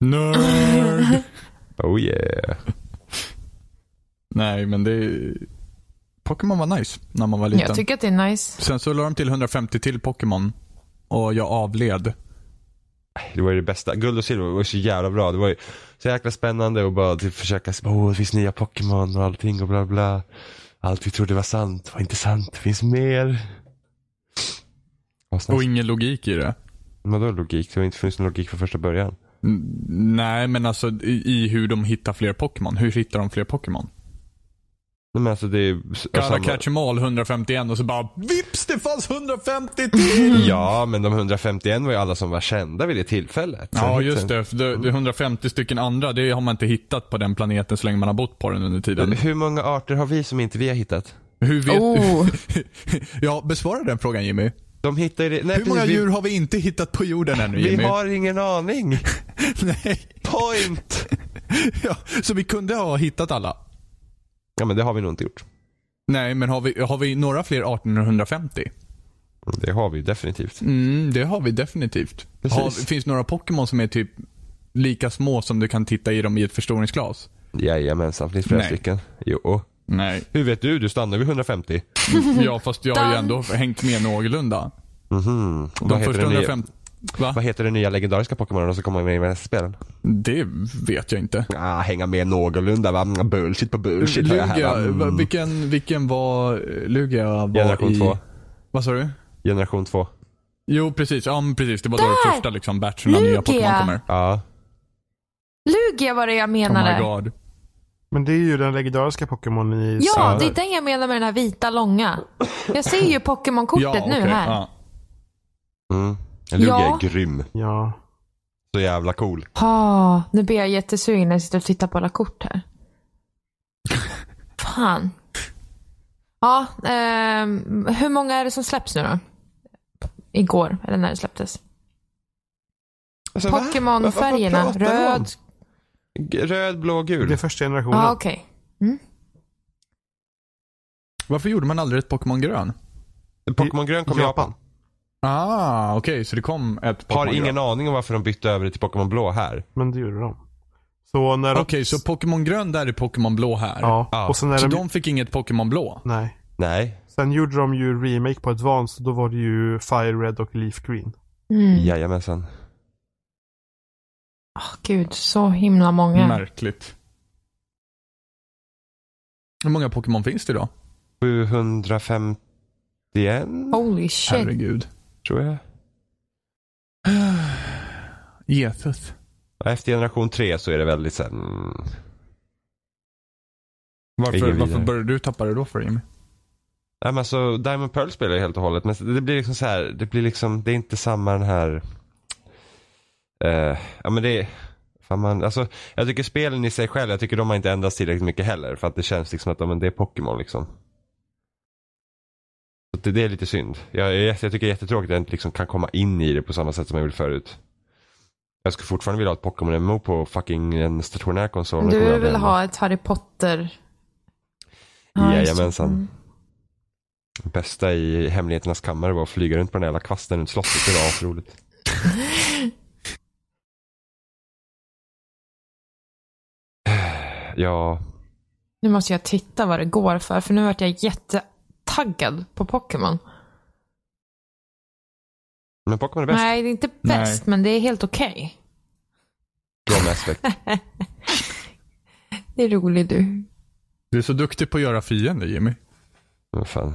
B: Nörd!
C: Oh yeah.
B: Nej, men det... Pokémon var nice när man var liten.
A: Jag tycker att det är nice.
B: Sen så la de till 150 till Pokémon. Och jag avled.
C: Det var ju det bästa. Guld och silver var så jävla bra. Det var ju så jäkla spännande och bara typ försöka, åh det finns nya Pokémon och allting och bla bla. Allt vi trodde var sant var inte sant. Det finns mer.
B: Och
C: Vad
B: ingen logik i det.
C: Vadå logik? Det har inte funnits någon logik från första början.
B: Mm, Nej, men alltså i, i hur de hittar fler Pokémon. Hur hittar de fler Pokémon?
C: Nej men alltså det är s-
B: Gotta
C: samma-
B: catch em all 151 och så bara vips, det fanns 150 till!
C: Ja, men de 151 var ju alla som var kända vid det tillfället.
B: Ja, just det. För det, det är 150 stycken andra, det har man inte hittat på den planeten så länge man har bott på den under tiden.
C: Hur många arter har vi som inte vi har hittat?
B: Hur vet
A: Oh.
B: ja, besvara den frågan Jimmy.
C: De hittar ju det. Nej,
B: Hur många
C: precis,
B: djur har vi inte hittat på jorden ännu
C: Vi,
B: Jimmy?
C: vi har ingen aning.
B: Nej.
C: Point!
B: Ja, så vi kunde ha hittat alla.
C: Ja, men det har vi nog inte gjort.
B: Nej, men har vi, har vi några fler 1850?
C: Det har vi definitivt.
B: Mm, det har vi definitivt.
C: Precis.
B: Har, finns några Pokémon som är typ lika små som du kan titta i dem i ett förstoringsglas?
C: Jajamensan, finns flera
B: Nej.
C: stycken. Jo.
B: Nej.
C: Hur vet du? Du stannar vid 150.
B: Ja, fast jag har ju ändå hängt med någorlunda.
C: Mhm. Vad,
B: De
C: heter
B: första
C: den nya,
B: 150... Va?
C: vad heter den nya legendariska Pokémonen som kommer med i nästa spel?
B: Det vet jag inte.
C: Ah, hänga med någorlunda va? Mm, Bullshit på bullshit. hör jag här,
B: Lugia,
C: va? Mm.
B: va- vilken, vilken var eh, Lugia var
C: Generation
B: i...
C: två.
B: Vad sa du?
C: Generation 2.
B: Jo, precis. Ja, men precis. Det var då
A: Där!
B: det första liksom, batchen av nya
A: Lugia!
B: Pokémon kommer.
C: Ja.
A: Lugia var det jag menade.
B: Oh my god.
E: Men det är ju den legendariska Pokémonen i
A: ja,
E: Silver.
A: det är den jag menar med den här vita långa. Jag ser ju Pokémon-kortet
B: Ja,
A: nu
B: okej,
A: här.
B: ja.
C: Mm. Lugia
A: Ja.
C: är grym.
E: Ja.
C: Så jävla cool.
A: Ah, nu blir jag jättesugen när jag sitter och tittar på alla kort här. Fan. Ja, ehm, hur många är det som släpps nu då? Igår, eller när det släpptes.
C: Alltså, va?
A: Pokémon-färgerna.
C: Vad- vad pratar du om?
A: Röd.
C: G- Röd, blå,
E: Det är
C: gul.
E: första generationen.
A: Ja, okej.
B: Varför gjorde man aldrig ett Pokémon grön?
C: Pokémon grön kom i Japan.
B: Ah, okej. så det kom ett
C: Har
B: Pokémon
C: ingen
B: grön.
C: aning om varför de bytte över det till Pokémon blå här.
E: Men det gjorde de. Så när de...
B: Okej, så Pokémon grön där är Pokémon blå här.
E: Ja.
C: Ja.
E: Och sen när
B: Så
E: de...
B: de fick inget Pokémon blå?
E: Nej.
C: Nej.
E: Sen gjorde de ju remake på Advance och då var det ju Fire Red och Leaf Green.
A: Mm.
C: Jajamensan.
A: Ah, Gud, så himla många.
B: Märkligt. Hur många Pokémon finns det idag?
C: 751
A: Holy shit.
B: Herregud.
C: tror jag.
B: Jesus.
C: Och Efter generation 3 så är det väldigt såhär... Mm. Ingen
B: Varför,
C: vidare.
B: varför började du tappa det då för Jimmy?
C: Nej men alltså Diamond Pearl spelar jag helt och hållet. Men det blir liksom så här, det blir liksom, det är inte samma den här... eh, ja men det är... Fan man, alltså, jag tycker spelen i sig själv, jag tycker de har inte ändrats tillräckligt mycket heller. För att det känns liksom att ja, men det är Pokémon liksom. Så det, det är lite synd. Jag, jag, jag tycker det är jättetråkigt att jag inte liksom kan komma in i det på samma sätt som jag gjorde förut. Jag skulle fortfarande vilja ha ett Pokémon MMO på fucking en stationär konsol. Det kommer
A: Du
C: aldrig
A: vill
C: hända.
A: ha ett Harry Potter? Ja, just Mm. det.
C: Jajamensan. Det bästa i hemligheternas kammare var att flyga runt på den här jävla kvasten runt slottet. Det var asroligt. ja,
A: Nu måste jag titta vad det går för, för nu vart jag jättetaggad på Pokémon.
C: men Pokémon är bäst.
A: Nej, det är inte
B: Nej.
A: bäst, men det är helt okej.
C: Bra med aspekt.
A: Det är roligt du.
B: Du är så duktig på att göra fiender Jimmy.
C: Men fan,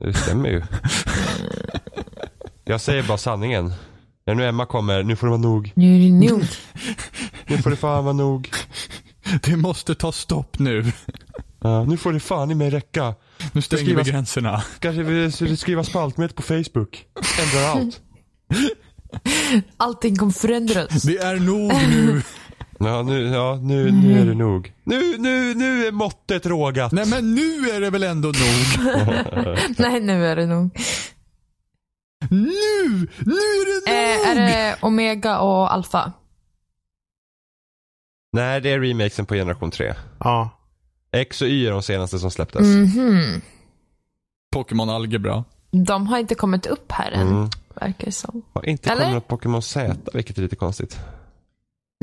C: det stämmer ju. Jag säger bara sanningen. När nu Emma kommer, nu får det vara nog.
A: Nu är det nog.
C: Nu får det fan vara nog.
B: Det måste ta stopp nu.
C: Ja, nu får det fan i mig räcka.
B: Nu stänger vi
C: skrivas-
B: gränserna.
C: Kanske vi skriva spaltmeter på Facebook. Ändrar allt.
A: Allting kommer förändras.
B: Det är nog nu.
C: Ja, nu, ja, nu, nu är det nog. Nu, nu, nu är måttet rågat.
B: Nej men nu är det väl ändå nog.
A: Nej, nu är det nog. Eh,
B: Nu! Nu är det nog!
A: Eh, är det Omega och Alfa?
C: Nej, det är remakesen på generation 3.
E: Ja.
C: X och Y är de senaste som släpptes.
A: Mhm.
B: Pokémon Algebra.
A: De har inte kommit upp här än,
C: Mm.
A: verkar det som.
C: Har inte
A: Eller?
C: kommit något Pokémon Z, vilket är lite konstigt.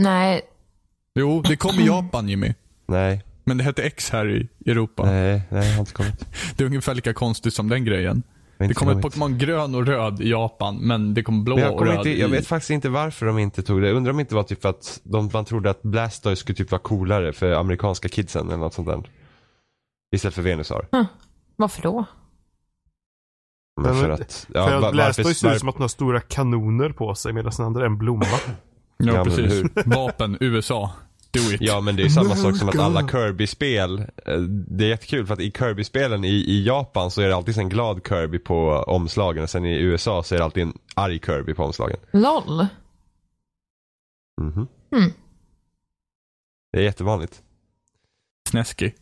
A: Nej,
B: Jo, det kom i Japan Jimmy.
C: Nej,
B: Men det hette X här i Europa.
C: nej, nej, har inte kommit.
B: Det är ungefär lika konstigt som den grejen.
C: Har inte
B: Det kommer
C: kommit.
B: Pokémon grön och röd i Japan, men det kommer blå
C: Men jag,
B: och
C: kommer
B: röd
C: inte, jag
B: i-
C: vet faktiskt inte varför de inte tog det. Jag undrar om det inte var typ för att de, man trodde att Blastoise skulle typ vara coolare för amerikanska kidsen eller något sånt där. Istället för Venusar.
A: varför då?
C: Men
E: Men-
C: för att, ja,
E: För
C: va-
E: jag läste att det ser
C: varför-
E: ut som att den har stora kanoner på sig medan den andra är en blomma.
B: Ja,
C: Ja, men
B: precis. Vapen, USA. Do it.
C: Ja men det är samma sak som att alla Kirby-spel, eh, det är jättekul för att i Kirby-spelen i, i Japan så är det alltid en glad Kirby på omslagen och sen i USA så är det alltid en arg Kirby på omslagen.
A: LOL?
C: Mhm.
A: Mm.
C: Det är jättevanligt.
B: Snäskig.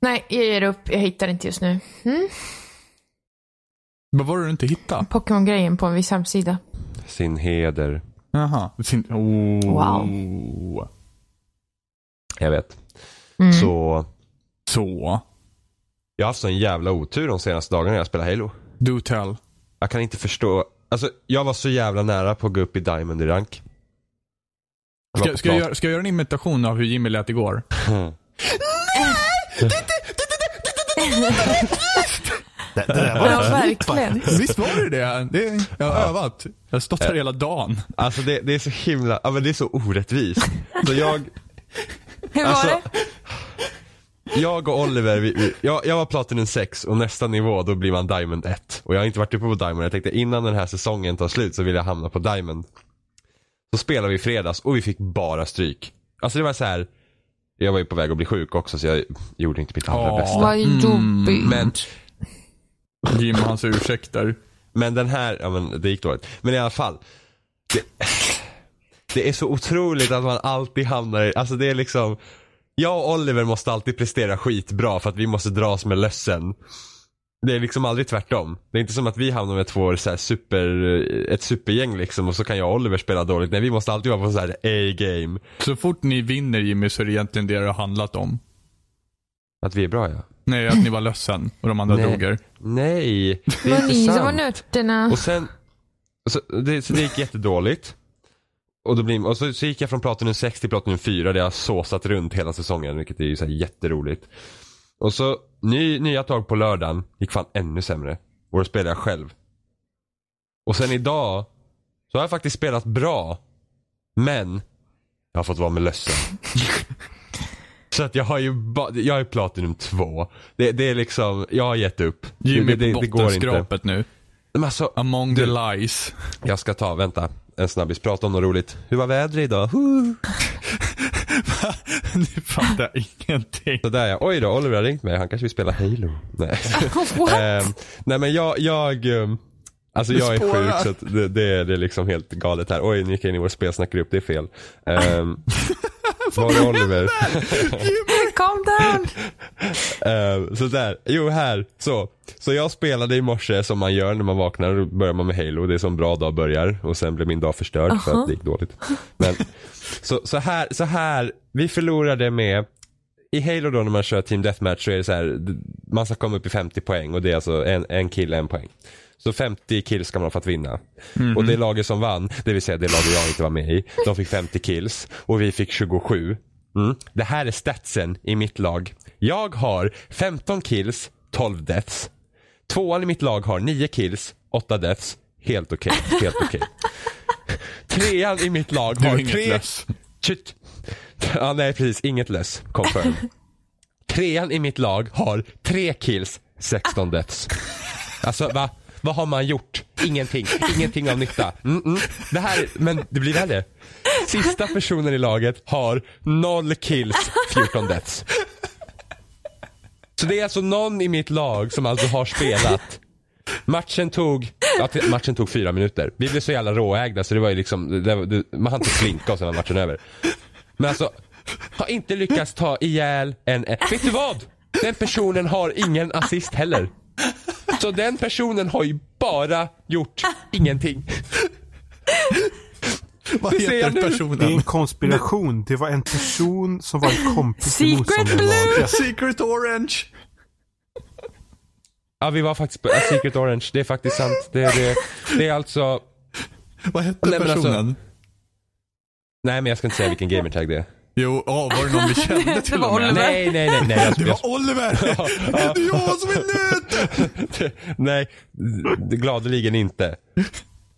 A: Nej, jag ger upp. Jag hittar inte just nu. Mm?
B: Vad var det du inte hittade?
A: Pokémon-grejen på en viss hemsida.
C: Sin heder.
B: Jaha. Sin... Oh.
A: Wow.
C: Jag vet.
A: Mm.
C: Så
B: Så.
C: jag har haft sån jävla otur de senaste dagarna när jag spelar Halo.
B: Do tell.
C: Jag kan inte förstå. Alltså jag var så jävla nära på att gå upp i Diamond i rank. Jag var
B: Ska,
C: på
B: ska, jag,
C: plat-
B: göra- ska jag göra en imitation av hur Jimmy lät igår?
E: Det, det där
A: Ja,
E: var
A: verkligen.
C: Alltså,
B: Visst var det det? det jag har övat. Jag har stått här hela dagen.
C: Alltså det, det är så himla, ja men det är så orättvist. Så jag,
A: Hur
C: Alltså,
A: var det?
C: Jag och Oliver, vi, vi, jag, jag var Platinum 6 och nästa nivå då blir man Diamond 1. Och jag har inte varit uppe på Diamond. Jag tänkte innan den här säsongen tar slut så vill jag hamna på Diamond. Så spelade vi i fredags och vi fick bara stryk. Alltså det var så här. jag var ju på väg att bli sjuk också så jag gjorde inte mitt allra
B: Ja.
C: bästa.
A: Vad jobbigt.
C: Men,
B: Jim och hans ursäkter.
C: men den här, ja men det gick dåligt. Men i alla fall. Det, det är så otroligt att man alltid hamnar i, alltså det är liksom. Jag och Oliver måste alltid prestera skitbra för att vi måste dras med lössen. Det är liksom aldrig tvärtom. Det är inte som att vi hamnar med två så här super, ett supergäng liksom och så kan jag och Oliver spela dåligt. Nej, vi måste alltid vara på så här A-game.
B: Så fort ni vinner Jimmy så är det egentligen det det har handlat om.
C: Att vi är bra ja.
B: Nej, att ni var ledsen och de andra
C: Nej.
B: dog er.
C: Nej, det
A: Det
C: är
A: var
C: inte
A: ni som
C: sant.
A: var nörterna.
C: Och sen, så det, så det gick jättedåligt. Och, då blir, och så, så gick jag från Platinum 6 till Platinum 4 där jag såsat runt hela säsongen vilket är ju så här jätteroligt. Och så ny, nya tag på lördagen gick fan ännu sämre. Och då spelade jag själv. Och sen idag så har jag faktiskt spelat bra. Men jag har fått vara med lössen. så att jag har ju ba, jag är Platinum 2. Det, det är liksom, jag har gett upp.
B: Jimmy
C: det, det,
B: på
C: det går inte.
B: bottenskrapet nu.
C: Men alltså,
B: Among the lies.
C: jag ska ta, vänta, en snabbis. Prata om något roligt. Hur var vädret idag? Huh.
B: ni fattar ingenting.
C: Så där ja. Oj då, Oliver har ringt mig. Han kanske vill spela Halo. Nej,
A: What?
C: Ehm, nej men jag, jag ehm, Alltså jag är
B: spårar.
C: sjuk så att det, det, är- det är liksom helt galet här. Oj, nu gick jag in i vår spelsnackgrupp. Det är fel. Ehm, var är Oliver?
B: Jimmy!
A: calm down.
C: Eh, så där. Jo, här. Så. så jag spelade i morse som man gör när man vaknar. Då börjar man med Halo. Det är som bra dag börjar. Och sen blev min dag förstörd för att det gick dåligt. Men, så, så, här, så här. Vi förlorade med. I Halo då när man kör Team Deathmatch så är det så här. d- Man ska komma upp i 50 poäng och det är alltså en, en kill, en poäng. Så 50 kills ska man för att vinna.
B: Mhm.
C: Och det laget som vann, det vill säga det laget jag inte var med i, de fick 50 kills och vi fick 27. Mm. Det här är statsen i mitt lag. Jag har 15 kills, 12 deaths. Tvåan i mitt lag har 9 kills, 8 deaths. Helt okej, helt okej. Trean i mitt lag
B: Du är
C: har
B: inget
C: tre...
B: löss.
C: Tjut. Ja, nej precis, inget löss. Confirm. Trean i mitt lag har 3 kills, 16 deaths. Alltså va? Vad har man gjort? Ingenting. Ingenting av nytta. Mm -mm. Det här, men det blir värre. Sista personen i laget har 0 kills, 14 deaths. Så det är alltså någon i mitt lag som alltså har spelat. Matchen tog, ja, t- matchen tog fyra minuter. Vi blev så jävla råägda så det var ju liksom, det, det, det- man hann inte slinka och sen var matchen över. Men alltså, har inte lyckats ta ihjäl en, en vet du vad? Den personen har ingen assist heller. Så den personen har ju bara gjort ingenting.
B: Vad
C: Det ser
B: heter
C: jag nu.
E: Det är en
B: personen?
E: konspiration. Det var en person som var en kompis till
A: Secret
E: motståndarlaget.
A: Blue!
B: Secret Orange!
C: Ja vi var faktiskt på äh, Secret Orange, det är faktiskt sant. Det, det, det är alltså,
B: Vad hette
C: Nej, men alltså-
B: personen?
C: nej men jag ska inte säga vilken gamertag det är.
B: Jo, ja, var det någon vi kände till
A: Det var
B: och med?
A: Oliver.
C: Nej nej nej. nej jag,
B: Det
C: jag,
B: var Oliver! Det är jag som är nöt!
C: Nej, d- gladeligen inte.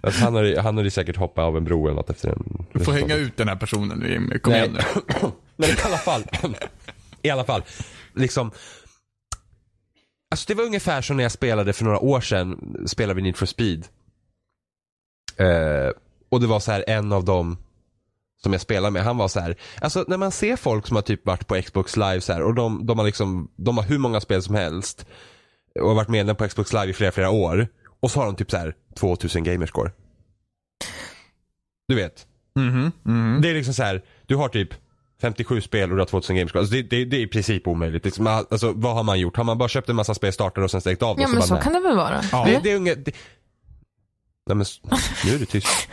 C: Alltså, han, har, han har ju säkert hoppat av en bro eller något efter den.
B: Du får hänga ut den här personen nu Jimmy. Kom
C: Nej.
B: igen nu.
C: Men i alla fall. I alla fall. Liksom. Alltså det var ungefär som när jag spelade för några år sedan. Spelade vi Need for Speed. Eh, och det var så här en av dem som jag spelar med, han var så här, alltså när man ser folk som har typ varit på Xbox live så här och de, de har liksom, de har hur många spel som helst och har varit medlem på Xbox live i flera, flera år och så har de typ så här 2000 gamerscore. Du vet,
B: Mhm, mhm.
C: det är liksom så här, du har typ 57 spel och du har 2000 gamerscore. Alltså det, det, det är i princip omöjligt. Liksom, alltså, vad har man gjort? Har man bara köpt en massa spel, startat och sen stängt av dem?
A: Ja men
C: bara,
A: så
C: nej.
A: kan det väl vara?
B: Ja.
C: Det, det är unge... Det... Nej men s- nu är du tyst.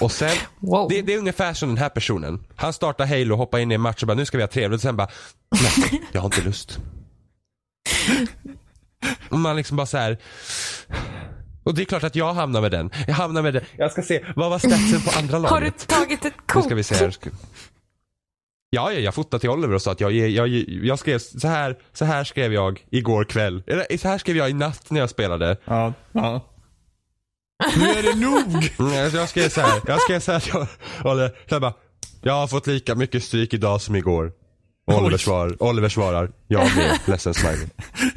C: Och sen,
A: Wow.
C: det, det är ungefär som den här personen. Han startar Halo, hoppar in i en match och bara nu ska vi ha trevligt. Och sen bara, nej jag har inte lust. Och man liksom bara så här. Och det är klart att jag hamnar med den. Jag hamnar med den. Jag ska se, vad var statsen på andra laget?
A: Har du tagit ett
C: Nu
A: kort?
C: ska vi se här. Ska- Ja, ja, jag fotade till Oliver och sa att jag, jag, jag, jag skrev så här, så här skrev jag igår kväll. Eller så här skrev jag i natt när jag spelade.
B: Ja, ja. Nu är det nog!
C: Mm, alltså jag skrev så här, jag skrev så här till Oliver. Så här bara, jag har fått lika mycket stryk idag som igår. Och Oliver,
B: Oj.
C: svar, Oliver svarar, jag med, ledsen smiley.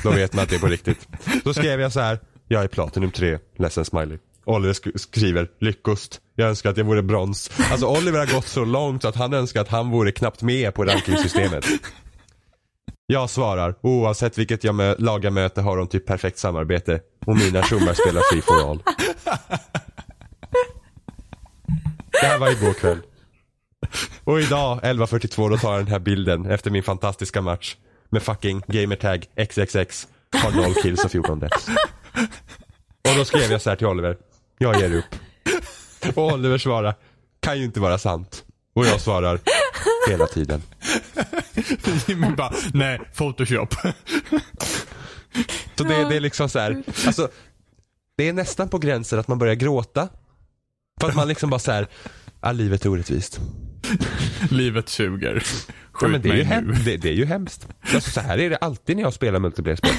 C: Då vet man att det är på riktigt. Då skrev jag så här, jag är platinum 3, ledsen smiley. Oliver sk- skriver, lyckost. Jag önskar att jag vore brons. Alltså Oliver har gått så långt så att han önskar att han vore knappt med på rankingsystemet. Jag svarar, oavsett vilket jag mö- lag jag möter har de typ perfekt samarbete. Och mina tjommar spelar free for all. Det här var igår kväll. Och idag 11.42 då tar jag den här bilden efter min fantastiska match. Med fucking gamertag XXX. Har 0 kills och 14 deaths. Och då skrev jag så här till Oliver. Jag ger upp. Och Oliver svarar. Kan ju inte vara sant. Och jag svarar. Hela tiden.
B: Jimmy bara, nej, photoshop.
C: Så det, det är liksom så här. Alltså, det är nästan på gränsen att man börjar gråta. För att man liksom bara så här. Ah, livet är orättvist.
B: Livet suger. Skjut
C: Ja, men det, är ju
B: mig
C: hem-
B: nu.
C: det, det är ju hemskt. Alltså, så här är det alltid när jag spelar multiplayer-spel.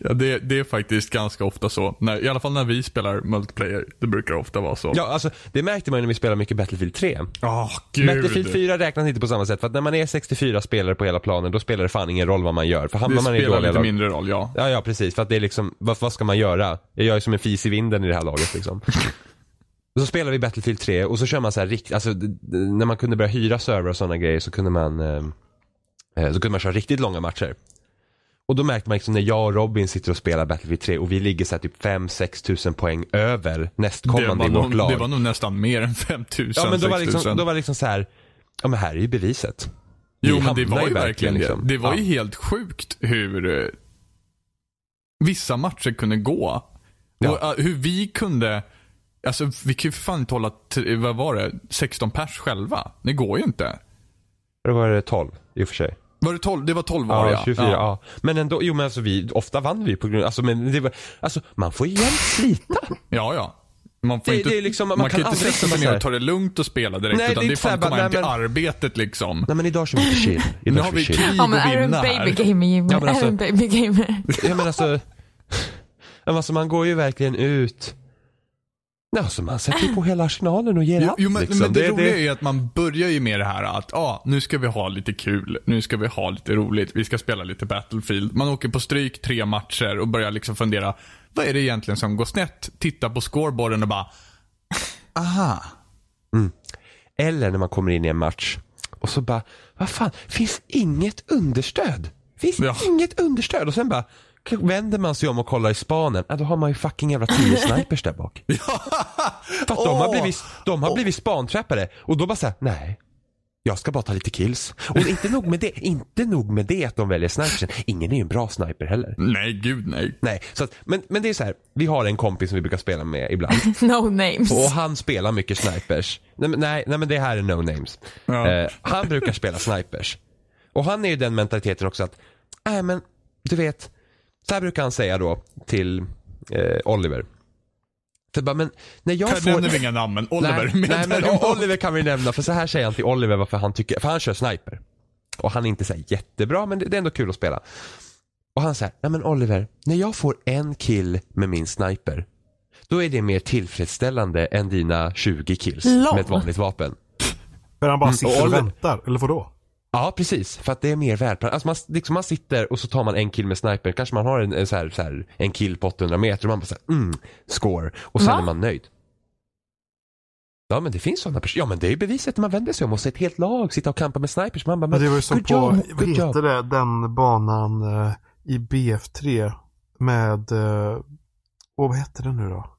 B: Ja, det, det är faktiskt ganska ofta så. När, I alla fall när vi spelar multiplayer. Det brukar ofta vara så.
C: Ja, alltså, det märkte man ju när vi spelade mycket Battlefield 3.
B: Åh, gud.
C: Battlefield 4 räknas inte på samma sätt för att när man är 64 spelare på hela planen då spelar det fan ingen roll vad man gör. För hamnar
B: Det
C: man i
B: spelar
C: dåliga
B: lite
C: lag...
B: mindre roll, ja.
C: Ja, ja precis. För att det är liksom, vad, vad ska man göra? Jag är som en fis i vinden i det här laget liksom. Och så spelar vi Battlefield 3 och så kör man så här riktigt, alltså d- d- när man kunde börja hyra server och sådana grejer så kunde man eh, eh, så kunde man köra riktigt långa matcher. Och då märkte man liksom när jag och Robin sitter och spelar Battlefield 3 och vi ligger så här typ 5-6 tusen poäng över
B: Det
C: nästkommande
B: var,
C: i vårt
B: nog,
C: lag.
B: det var nog nästan mer än 5000,
C: Ja men då var,
B: 6000.
C: liksom, då var det liksom så här. Ja men här är ju beviset.
B: Jo, men det
C: hamnar
B: var ju verkligen det.
C: liksom.
B: Det var ju
C: Ja.
B: helt sjukt hur eh, vissa matcher kunde gå.
C: Ja.
B: Och, eh, hur vi kunde, alltså vi kan ju för fan inte hålla, t- vad var det, 16 pers själva. Det går ju inte.
C: Det var det 12 i och för sig.
B: Var det 12? Det var 12 var
C: ja, 24, ja. Men ändå, jo men alltså vi, ofta vann vi på grund alltså, men det var, alltså man får ju jämt slita.
B: Ja, ja. Man, får
C: Det-
B: inte,
C: det är liksom- man
B: man
C: kan
B: kan inte
C: aldrig
B: sätta
C: liksom
B: sig ner
C: såhär-
B: och ta det lugnt och spela direkt.
C: Nej, det är
B: utan det är
C: inte
B: fan
C: såhär bara,
B: komma hem
C: nej,
B: till
C: men-
B: arbetet liksom.
C: Nej men idag kör vi inte chill.
B: Nu
C: Idag kör
B: har vi
C: vi
B: krig
C: chill.
A: Ja men
B: att
A: är du en
B: vinna
A: baby
B: här.
A: gamer Jimmy?
C: Ja, men
A: Är
C: alltså-
A: du en baby gamer?
C: Ja men alltså, ja, men alltså man går ju verkligen ut. Ja, alltså man sätter ju på hela arsenalen och ger
B: Jo,
C: allt,
B: jo men,
C: liksom.
B: men det, roliga är ju att man börjar ju med det här att ah, nu ska vi ha lite kul, nu ska vi ha lite roligt, vi ska spela lite Battlefield. Man åker på stryk tre matcher och börjar liksom fundera, vad är det egentligen som går snett? Titta på scoreboarden och bara, aha.
C: Eller när man kommer in i en match och så bara, vad fan, finns inget understöd? Finns
B: Ja.
C: inget understöd? Och sen bara vänder man sig om och kollar i spanen. Ja, då har man ju fucking jävla tio snipers där bak. För att de har
B: Åh.
C: blivit, de har blivit spantrappare. Och då bara såhär, nej. Jag ska bara ta lite kills. Och inte nog med det, inte nog med det att de väljer snipersen. Ingen är ju en bra sniper heller.
B: Nej, gud nej.
C: Nej, så att, men, men det är så här. vi har en kompis som vi brukar spela med ibland.
A: No names.
C: Och han spelar mycket snipers. Nej, men- nej, nej men det här är no names.
B: Ja.
C: Eh, han brukar spela snipers. Och han är ju den mentaliteten också att, nej men du vet, så här brukar han säga då till eh, Oliver. För bara, men när jag
B: Här
C: får...
B: nämner vi inga namn, men Oliver
C: nej,
B: med
C: nej, men
B: däremot.
C: O- Oliver kan vi nämna, för så här säger han till Oliver varför han tycker, för han kör sniper. Och han är inte så här jättebra, men det, det är ändå kul att spela. Och han säger, nej men Oliver, när jag får en kill med min sniper, då är det mer tillfredsställande än dina 20 kills
A: Lol.
C: med ett vanligt vapen.
E: Men han bara
B: Mm,
C: och
E: sitter och
C: Oliver-
E: väntar. Eller vadå?
C: Ja, precis. För att det är mer värdplan. Alltså man, liksom man sitter och så tar man en kill med sniper. Kanske man har en, en, så här, så här, en kill på 800 meter och man bara så här, mm, score. Och sen
A: Va?
C: är man nöjd. Ja men det finns sådana personer. Ja men det är ju beviset när man vänder sig om och ser ett helt lag sitta och kampa med snipers. Man bara,
E: Men
C: men,
E: det var ju som
C: good
E: på,
C: job,
E: vad
C: good job.
E: heter det, den banan eh, i BF3 med, eh, åh, vad hette den nu då?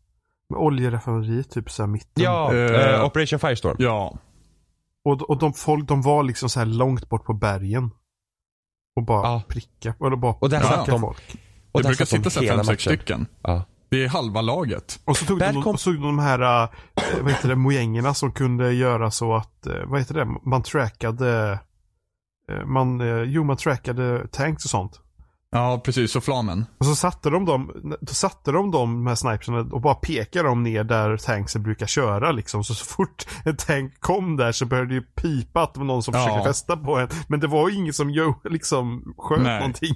E: Med oljeraffinaderi typ såhär mitten.
C: Ja,
B: Eh,
C: eh, Operation Firestorm.
B: Ja.
E: Och, och de folk, de var liksom så här långt bort på bergen. Och bara
C: Ja.
E: pricka, eller bara
C: Och där
E: pricka
C: satt de.
E: folk.
B: Det
C: Och där
B: brukar
C: satt
B: sitta
C: de
B: såhär
C: hela
B: fem, sex
C: matchen.
B: stycken.
C: Ja.
B: Det är halva laget.
E: Och så tog de,
C: Där kom-
E: och så tog de de här, eh, vad heter det, mojängerna som kunde göra så att, eh, vad heter det, man trackade, eh, man, eh, jo man trackade tanks och sånt.
B: Ja, precis. Så flamen.
E: Och så satte de dem, då satte de dem, de här sniperserna och bara pekade dem ner där tanksen brukar köra liksom. Så, så fort en tank kom där så började det ju pipa att det var någon som
B: Ja.
E: försökte fästa på en. Men det var ju ingen som jo, liksom sköt
B: Nej.
E: någonting.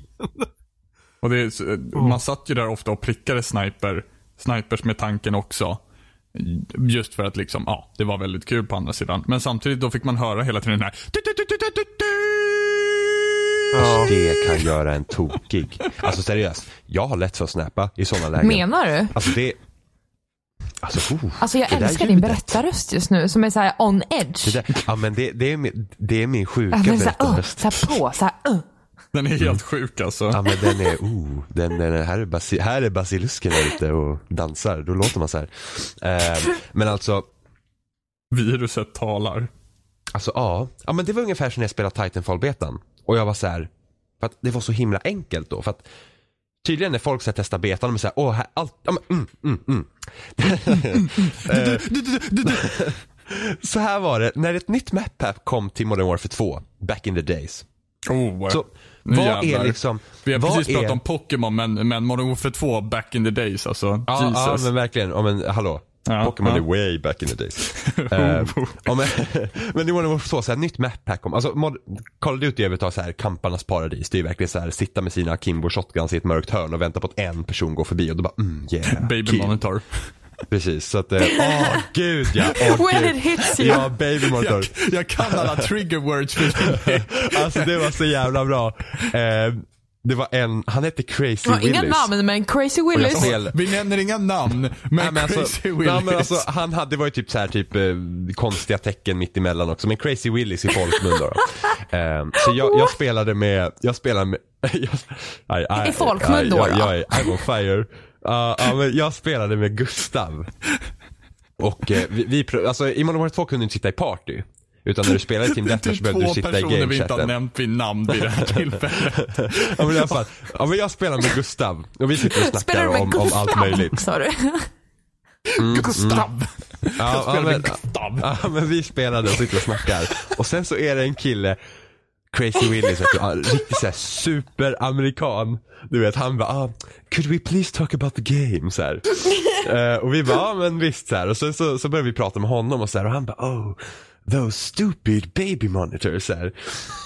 B: Och det, är så- Man satt ju där ofta och prickade sniper, snipers med tanken också. Just för att liksom, ja, det var väldigt kul på andra sidan. Men samtidigt då fick man höra hela tiden den här
C: Det kan göra en tokig. Alltså seriöst, jag har lätt för att snappa i sådana lägen.
A: Menar du?
C: Alltså det... Alltså, oh,
A: Alltså jag
C: det där
A: älskar din
C: ljudet.
A: berättarröst just nu som är såhär on edge.
C: Det där, ja men det, det, är, min, det är min sjuka
A: Ja, men såhär, uh,
C: berättarröst.
A: såhär på, såhär, uh.
B: Den är helt sjuk alltså.
C: Mm. Ja men den är, oh, den, den här, är basi, här är basilusken ute och dansar, då låter man så här. Ehm, men alltså,
B: Viruset talar.
C: alltså ja. ja men det var ungefär som när jag spelade Titanfall-betan. Och jag var så här, för att det var så himla enkelt då. För att tydligen när folk så här testar betan, de är så här, åh, här, allt, ja, men, mm, mm, mm. Så här var det, när ett nytt map här kom till Modern Warfare 2, back in the days.
B: Oh,
C: Så,
B: nu
C: vad
B: jävlar.
C: är liksom,
B: Vi har
C: vad
B: precis pratat
C: är-
B: om Pokémon, men, men Modern Warfare 2 back in the days alltså.
C: Ja, ja
B: Jesus.
C: men verkligen. Ja, men hallå.
B: Ja,
C: Pokémon
B: ja. Oh,
C: är way back in the days. Eh, ja, men, men det var nog så, så här, nytt map här kom. Alltså, mod, Call of Duty övertar så här kamparnas paradis. Det är ju verkligen så här, sitta med sina Kimbo shotguns i ett mörkt hörn och vänta på att en person går förbi och då bara mm yeah.
B: Baby
C: kill.
B: monitor.
C: Precis, så att, eh, åh gud ja. Åh,
A: When
C: gud.
A: it hits you.
C: Ja, baby
B: Jag,
C: monitor.
B: jag kan alla trigger words för dig.
C: Alltså det var så jävla bra. Eh, det var en, han hette Crazy
A: Det var inga
C: Willis.
A: namn men crazy Willis.
C: fel.
B: Vi nämner inga namn, men,
C: Nej, men alltså,
B: Crazy Willis.
C: nej, men alltså, han hade, det var ju typ så här, typ eh, konstiga tecken mitt emellan också, men Crazy Willis i folkmun då. då. Ehm, så jag, jag spelade med, jag spelade med, jag, aj, aj,
A: I folkmun
C: aj,
A: då,
C: Jag,
A: då?
C: jag, är- I'm on fire. Ja, ja, men jag spelade med Gustav. Och eh, vi, vi prö- alltså i Modern Warfare 2 kunde du inte sitta i party. Utan när du spelar i Team
B: Det är
C: Deathmatch behöver du
B: två
C: sitta i
B: personer vi inte har
C: gamechatten.
B: nämnt vid namn vid det här tillfället.
C: Ja men, i alla fall, ja men jag spelar med Gustav och vi sitter och
A: Spelar
C: snackar
A: du med
C: om, om
A: Gustav?
C: allt möjligt.
A: Sa du?
B: Gustav. Jag
C: Mm, Ja, ja,
B: spelar med
C: men,
B: Gustav.
C: ja men vi spelade och sitter och snackar. Och sen så är det en kille, Crazy Willy, så att, ja, riktigt såhär superamerikan. Du vet han bara ah, could we please talk about the game? Så här. Eh, och vi bara ja men visst så här. Och sen så, så började vi prata med honom och så här och han bara oh Those stupid baby monitors. Så här.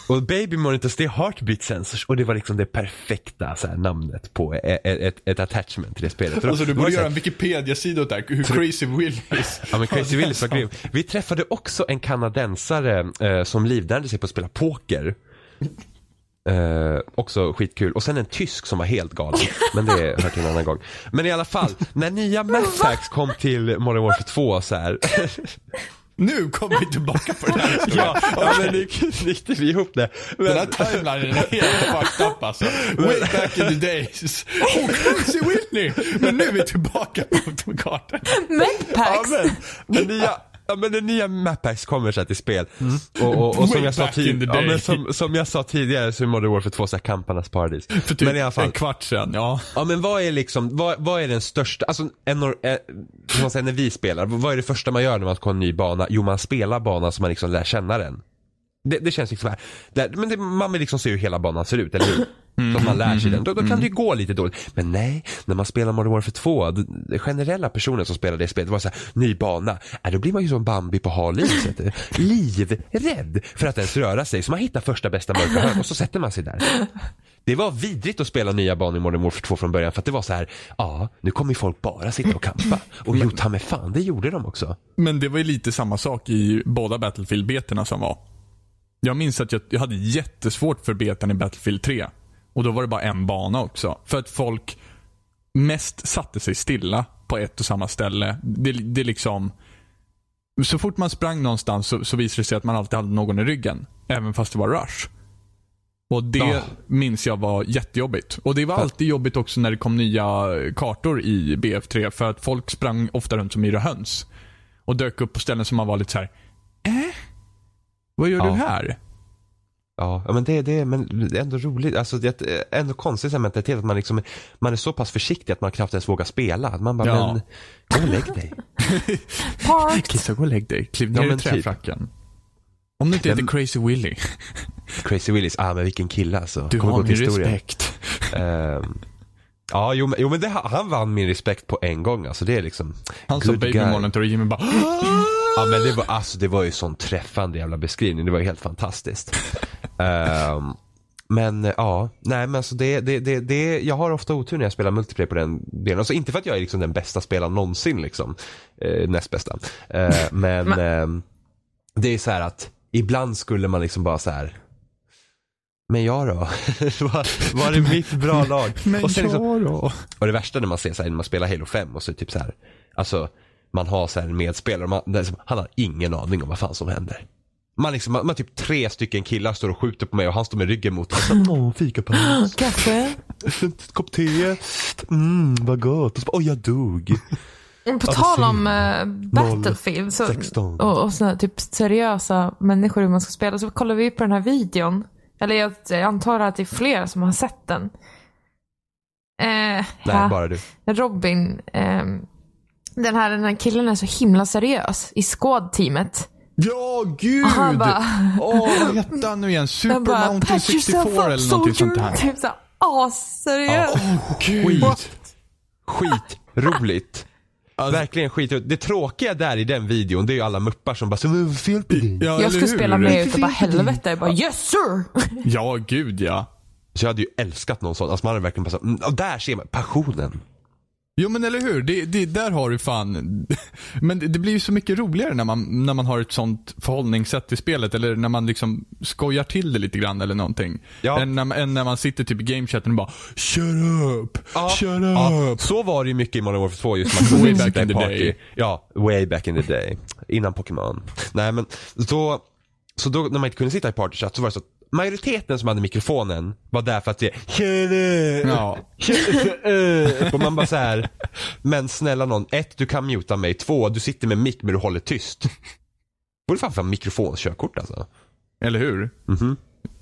C: Och baby monitors det är heartbeat sensors och det var liksom det perfekta så här, namnet på e- e- ett, ett attachment till det spelet. För då-
B: Alltså du
C: då var
B: borde
C: det så här-
B: göra en Wikipedia-sida åt det här, hur crazy Willis.
C: Ja men Crazy Willis var grym. Vi träffade också en kanadensare eh, som livnärde sig på att spela poker. Eh, också skitkul. Och sen en tysk som var helt galen. Men det hör till en annan gång. Men i alla fall, när nya Mass Hacks kom till Modern Warfare 2 så här.
B: Nu kommer vi tillbaka på den här historien.
C: ja, ja men nu knyter vi ihop det. Men,
B: Den här timelinen är helt fucked up alltså. Way back in the days. Oh, crazy Whitney! Men nu är vi tillbaka på kartan.
C: ja,
A: Medpacks?
C: men, den nya, ja, men den nya Mapax kommer så här till spel. Och, och, och som,
B: Way
C: jag sa
B: back in the
C: tid- ja,
B: day.
C: men som, som jag sa tidigare så är Modern Warfare 2 så här kamparnas paradis.
B: För typ
C: men i alla fall,
B: en kvart sedan, ja.
C: Ja men vad är liksom, vad, vad är den största, alltså en, or- eh, som man säger när vi spelar, vad är det första man gör när man kommer en ny bana? Jo man spelar banan så man liksom lär känna den. Det, det känns liksom här, där, men det, man vill liksom se hur hela banan ser ut, eller hur? Så att man lär sig den. Då, då kan det ju gå lite dåligt. Men nej, när man spelar Modern Warfare 2, d- d- generella personer som spelar det spelet var så här, ny bana. Äh, då blir man ju som Bambi på hal is. vet du. eh, Livrädd för att ens röra sig. Så man hittar första bästa mörka hörn och så sätter man sig där. Det var vidrigt att spela nya banor i Modern Warfare 2 från början för att det var så här, ja, nu kommer ju folk bara sitta och kampa. Och jo, ta mig fan, det gjorde de också.
B: Men det var ju lite samma sak i båda Battlefield-betorna som var. Jag minns att jag, jag hade jättesvårt för betan i Battlefield 3. Och då var det bara en bana också. För att folk mest satte sig stilla på ett och samma ställe. Det, det är liksom... Så fort man sprang någonstans så, så visade det sig att man alltid hade någon i ryggen. Även fast det var rush. Och det
C: Ja.
B: minns jag var jättejobbigt. Och det var alltid jobbigt också när det kom nya kartor i BF3. För att folk sprang ofta runt som yra höns. Och dök upp på ställen som man var lite så här. Äh? Vad gör
C: Ja.
B: du här?
C: Ja, ja, men det, det, men det är ändå roligt. Alltså, det är ett- ändå konstigt så här mentalitet att man, liksom, man är så pass försiktig att man knappt ens vågar spela. Att Man bara,
B: Ja.
C: men gå och lägg dig.
A: Parks?
B: Kissa, gå och lägg dig. Kliv
C: Ja,
B: ner i
C: men typ.
B: träfracken. Om du inte heter
C: Men-
B: Crazy Willy.
C: Crazy Willis, ah men vilken kille alltså.
B: Du
C: Kommer
B: har
C: gå till
B: min
C: historien.
B: respekt.
C: Ehm, ja, jo, men- jo men det, han vann min respekt på en gång alltså. Det är liksom,
B: Han sa
C: good
B: Baby
C: guy.
B: Monitor och Jimmy bara
C: Ja men det var, alltså, det var ju sån träffande jävla beskrivning. Det var ju helt fantastiskt. Ehm, men eh, ja, nej men alltså det, det, det, det, jag har ofta otur när jag spelar multiplayer på den delen. Alltså inte för att jag är liksom den bästa spelaren någonsin liksom. Eh, näst bästa. Eh, men ehm, det är så här att ibland skulle man liksom bara så här. Men jag då? var, var är mitt bra lag?
B: Men
C: Och sen liksom,
B: jag då?
C: och det värsta när man ser så här, när man spelar Halo 5 och så är det typ så här, alltså man har så här en medspelare och man, det är som- han har ingen aning om vad fan som händer. Man liksom, man, man typ tre stycken killar står och skjuter på mig och han står med ryggen mot mig. Åh, fikapaus,
A: Kaffe?
C: en kopp te, mm, vad gott. Och så bara, oj jag dog.
A: Men Mm, På
C: Ja,
B: Alltså,
A: tal om
C: precis.
A: eh, Battlefield så,
C: 16.
A: och, och såna, typ seriösa människor hur man ska spela så kollar vi på den här videon. Eller jag, jag antar att det är flera som har sett den. Eh,
C: Nej,
A: ja.
C: bara du.
A: Robin, ehm, den, här, den här killen är så himla seriös i squad-teamet.
B: Ja, gud!
A: Och han bara-
B: Åh, vad hette han nu igen? Super
A: Han bara,
B: Mountain
A: patch yourself
B: 64
A: up
B: eller någonting sånt
A: soldier.
B: här.
A: Typ såhär asseriös.
B: Åh, gud.
C: Skit, skit, roligt. Verkligen skitroligt. Det tråkiga där i den videon det är ju alla muppar som bara, så vad är det för fel på dig?
B: Ja, eller
A: jag skulle
B: hur?
A: spela med ut och bara helvete. Jag bara yes sir!
B: Ja, gud ja.
C: Så jag hade ju älskat någon sån. Alltså man hade verkligen bara, så, mm, och där ser man passionen.
B: Jo men eller hur, det, det, där har du fan. Men det, det blir ju så mycket roligare när man, när man har ett sånt förhållningssätt till spelet eller när man liksom skojar till det lite grann eller någonting.
C: Ja.
B: Än, när, man- än när man sitter typ i gamechatten och bara Shut up, shut up.
C: Ja, så var det ju mycket i Modern Warfare 2 just man
B: Way back
C: kunde sitta i
B: in the
C: party.
B: day.
C: Ja, way back in the day. Innan Pokémon. Nej men, så, så då när man inte kunde sitta i partychatt så var det så att majoriteten som hade mikrofonen var där för att se Tjena!
B: Ja.
C: Och man bara så här. men snälla någon, ett, du kan muta mig, två, du sitter med mick men du håller tyst. Borde fan få mikrofonkörkort alltså.
B: Eller hur?
C: Mhm.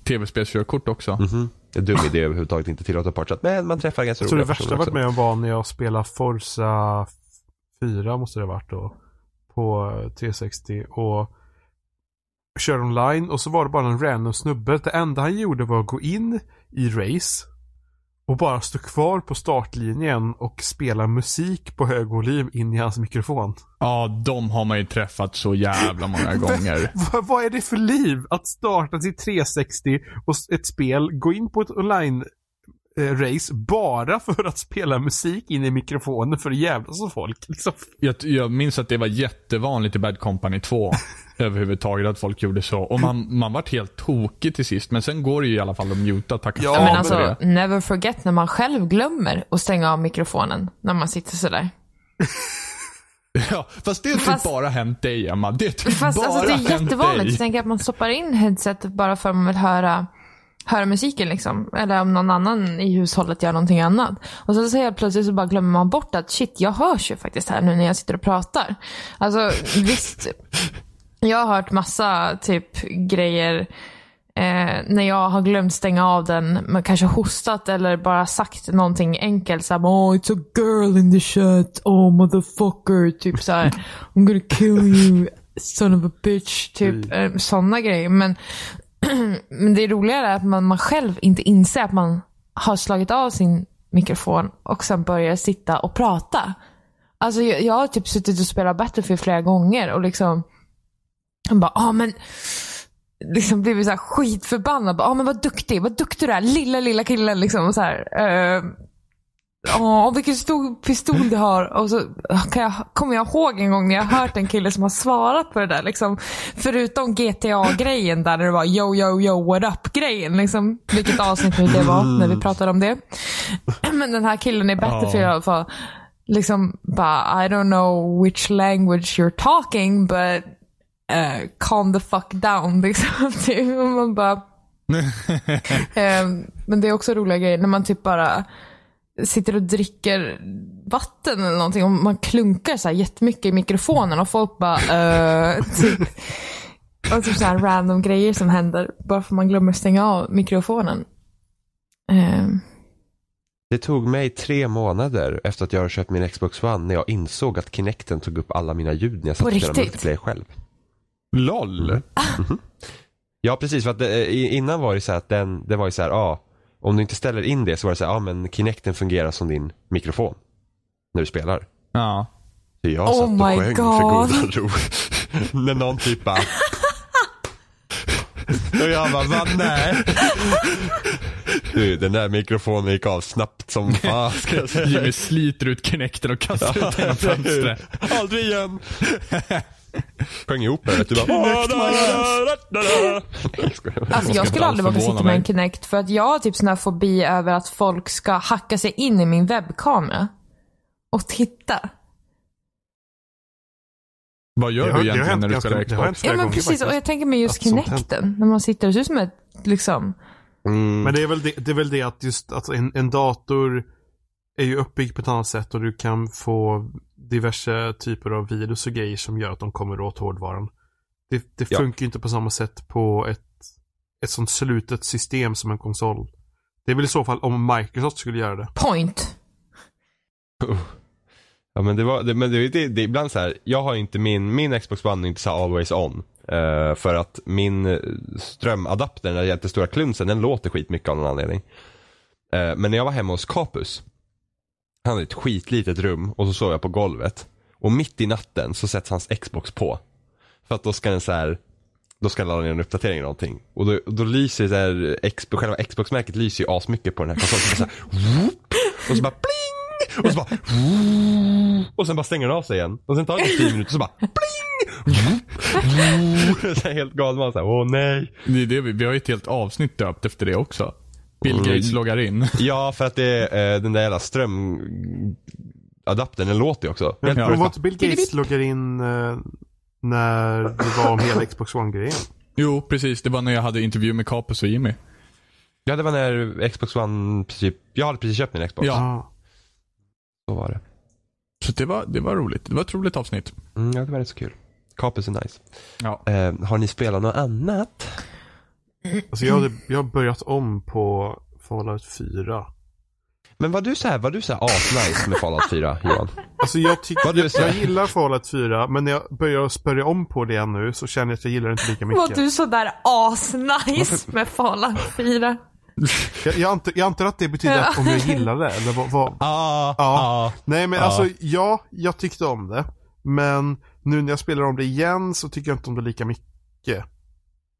B: Tv-spelskörkort också.
C: Mhm. Det är en dum idé överhuvudtaget inte tillåta partsatt. Men man träffar ganska
E: Jag tror det
C: roliga
E: värsta jag
C: personer
E: varit
C: också.
E: med om var när jag spelade Forza 4 måste det ha varit då. På eh, 360 och körde online och så var det bara en random snubbe. Det enda han gjorde var att gå in i race och bara stå kvar på startlinjen och spela musik på hög volym in i hans mikrofon.
B: Ja, de har man ju träffat så jävla många gånger.
E: Vad, vad är det för liv? Att starta sitt 360 och s- ett spel, gå in på ett online eh, race bara för att spela musik in i mikrofonen för att jävlas med folk. Liksom.
B: Jag, jag minns att det var jättevanligt i Bad Company 2. överhuvudtaget att folk gjorde så. Och man, man vart helt tokig till sist. Men sen går det ju i alla fall att muta tacka
E: Ja,
B: fan
E: men
B: för
A: Men alltså,
B: det.
A: never forget när man själv glömmer att stänga av mikrofonen när man sitter sådär.
B: Ja, fast det har typ
A: Fast-
B: bara hänt dig Emma. Det har typ
A: Fast
B: bara
A: alltså, det
B: hänt
A: är jättevanligt.
B: dig.
A: Jag tänker att man stoppar in headsetet bara för att man vill höra, höra musiken. Liksom. Eller om någon annan i hushållet gör någonting annat. Och så säger jag plötsligt så bara glömmer man bort att shit, jag hörs ju faktiskt här nu när jag sitter och pratar. Alltså visst, jag har hört massa typ grejer eh, när jag har glömt stänga av den, men kanske hostat eller bara sagt någonting enkelt. Såhär, oh it's a girl in the chat, oh motherfucker. Typ såhär, I'm gonna kill you, son of a bitch. Typ eh, sådana grejer. Men, men det roligare är att man, man själv inte inser att man har slagit av sin mikrofon och sen börjar sitta och prata. Alltså jag, jag har typ suttit och spelat Battlefield flera gånger och liksom, han bara, ah men, liksom blivit så här skitförbannad. Ja ah, men vad duktig, vad duktig du är. Lilla, lilla killen. Liksom, och så här, eh, Ja, och vilken stor pistol du har. Och så ah, kan jag, kommer jag ihåg en gång när jag hört en kille som har svarat på det där. Liksom, förutom GTA-grejen där det var yo, yo, yo, what up-grejen. Liksom, vilket avsnitt nu det var när vi pratade om det. Men den här killen i Battlefield i alla fall. Liksom bara, I don't know which language you're talking but eh, calm the fuck down. Liksom. Typ. Och man bara, Ehm, men det är också roliga grejer när man typ bara sitter och dricker vatten eller någonting och man klunkar så här jättemycket i mikrofonen och folk bara eh, typ, och typ så här random grejer som händer bara för man glömmer stänga av mikrofonen. Ehm,
C: Det tog mig tre månader efter att jag hade köpt min Xbox One när jag insåg att Kinecten tog upp alla mina ljud när jag satt
A: På
C: och spelade
A: riktigt?
C: multiplayer själv.
B: LOL.
C: Ja, precis. För att det, i- innan var det så här att den, det var ju så här, ja, om du inte ställer in det så var det så här, ja men Kinecten fungerar som din mikrofon när du spelar.
B: Ja.
C: Så jag
A: Oh
C: satt och
A: my
C: sjöng för
A: God.
C: goda ro. när någon typ bara... och jag bara, va nej. Du, den där mikrofonen gick av snabbt som fan ska jag säga.
B: Jimmy sliter ut Kinecten och kastar ut den genom fönstret.
C: Aldrig igen. Sjöng ihop det. Du bara... Jag skojar.
A: Alltså jag
B: ska inte
A: skulle
B: alls
A: aldrig våga
B: förvåna
A: sitta med en
B: mig.
A: Kinect för att jag har typ sån här fobi över att folk ska hacka sig in i min webbkamera och titta.
B: Vad gör
E: Det har-
B: du
E: det har
B: egentligen
E: hänt
B: när du
E: ganska-
B: spelar
E: det har
B: Xbox?
E: hänt flera
A: Ja men
E: gånger
A: precis
E: faktiskt.
A: och jag tänker mig just
E: Att sånt
A: Kinecten. När man sitter och ser ut som ett liksom
C: Mm.
E: Men det är, väl det, det är väl det att just att en, en dator är ju uppbyggd på ett annat sätt och du kan få diverse typer av virus och grejer som gör att de kommer åt hårdvaran. Det, det
C: Ja.
E: funkar ju inte på samma sätt på ett, ett sånt slutet system som en konsol. Det är väl i så fall om Microsoft skulle göra det.
A: point.
C: Ja men det var, det, men det, det, det är ibland så här, jag har inte min, min Xbox One är inte så här always on. Eh, för att min eh, strömadapter, den där jättestora klunsen, den låter skitmycket av någon anledning. Eh, men när jag var hemma hos Capus, han hade ett skitlitet rum och så sov jag på golvet. Och mitt i natten så sätts hans Xbox på. För att då ska den så här, då ska den ladda ner en uppdatering eller någonting. Och då, då lyser så här, X, själva Xbox-märket lyser ju asmycket på den här konsolen. Så bara så här, whoop, och så bara pling! Och så bara och sen bara stänger den av sig igen. Och sen tar det 10 minuter och så bara pling! så här helt galen man såhär, åh nej.
B: Det är det, vi, vi har ju ett helt avsnitt döpt efter det också. Bill
E: Mm.
B: Gates loggar in.
C: Ja, för att det är eh, den där jävla strömadaptern, den låter ju också.
E: Men
B: Ja.
E: men var inte Bill Gates loggar in eh, när det var om hela Xbox One-grejen?
B: Jo, precis. Det var när jag hade intervju med Capus och Jimmy.
C: Ja, det var när Xbox One, precis, jag hade precis köpt min Xbox.
B: Ja.
E: Ah.
C: Så var det.
B: Så det var, det var roligt. Det var ett roligt avsnitt.
C: Mm, ja, det var rätt så kul. Kapus är nice.
B: Ja.
C: Eh, har ni spelat något annat?
E: Alltså jag, hade, jag har börjat om på Fallout 4.
C: Men var du så här, var du så här asnice med Fallout 4 Johan?
E: Alltså jag, tyck,
C: Vad du
E: jag,
C: sa.
E: jag gillar Fallout 4 men när jag börjar spörja om på det igen nu så känner jag att jag gillar det inte lika
A: Var
E: mycket.
A: du sådär asnice med Fallout 4?
E: Jag, jag, antar, jag antar att det betyder att om jag gillar det eller vad, vad,
C: Ah,
E: Ja. Nej men
C: Ja.
E: alltså ja, jag tyckte om det. Men nu när jag spelar om det igen så tycker jag inte om det lika mycket.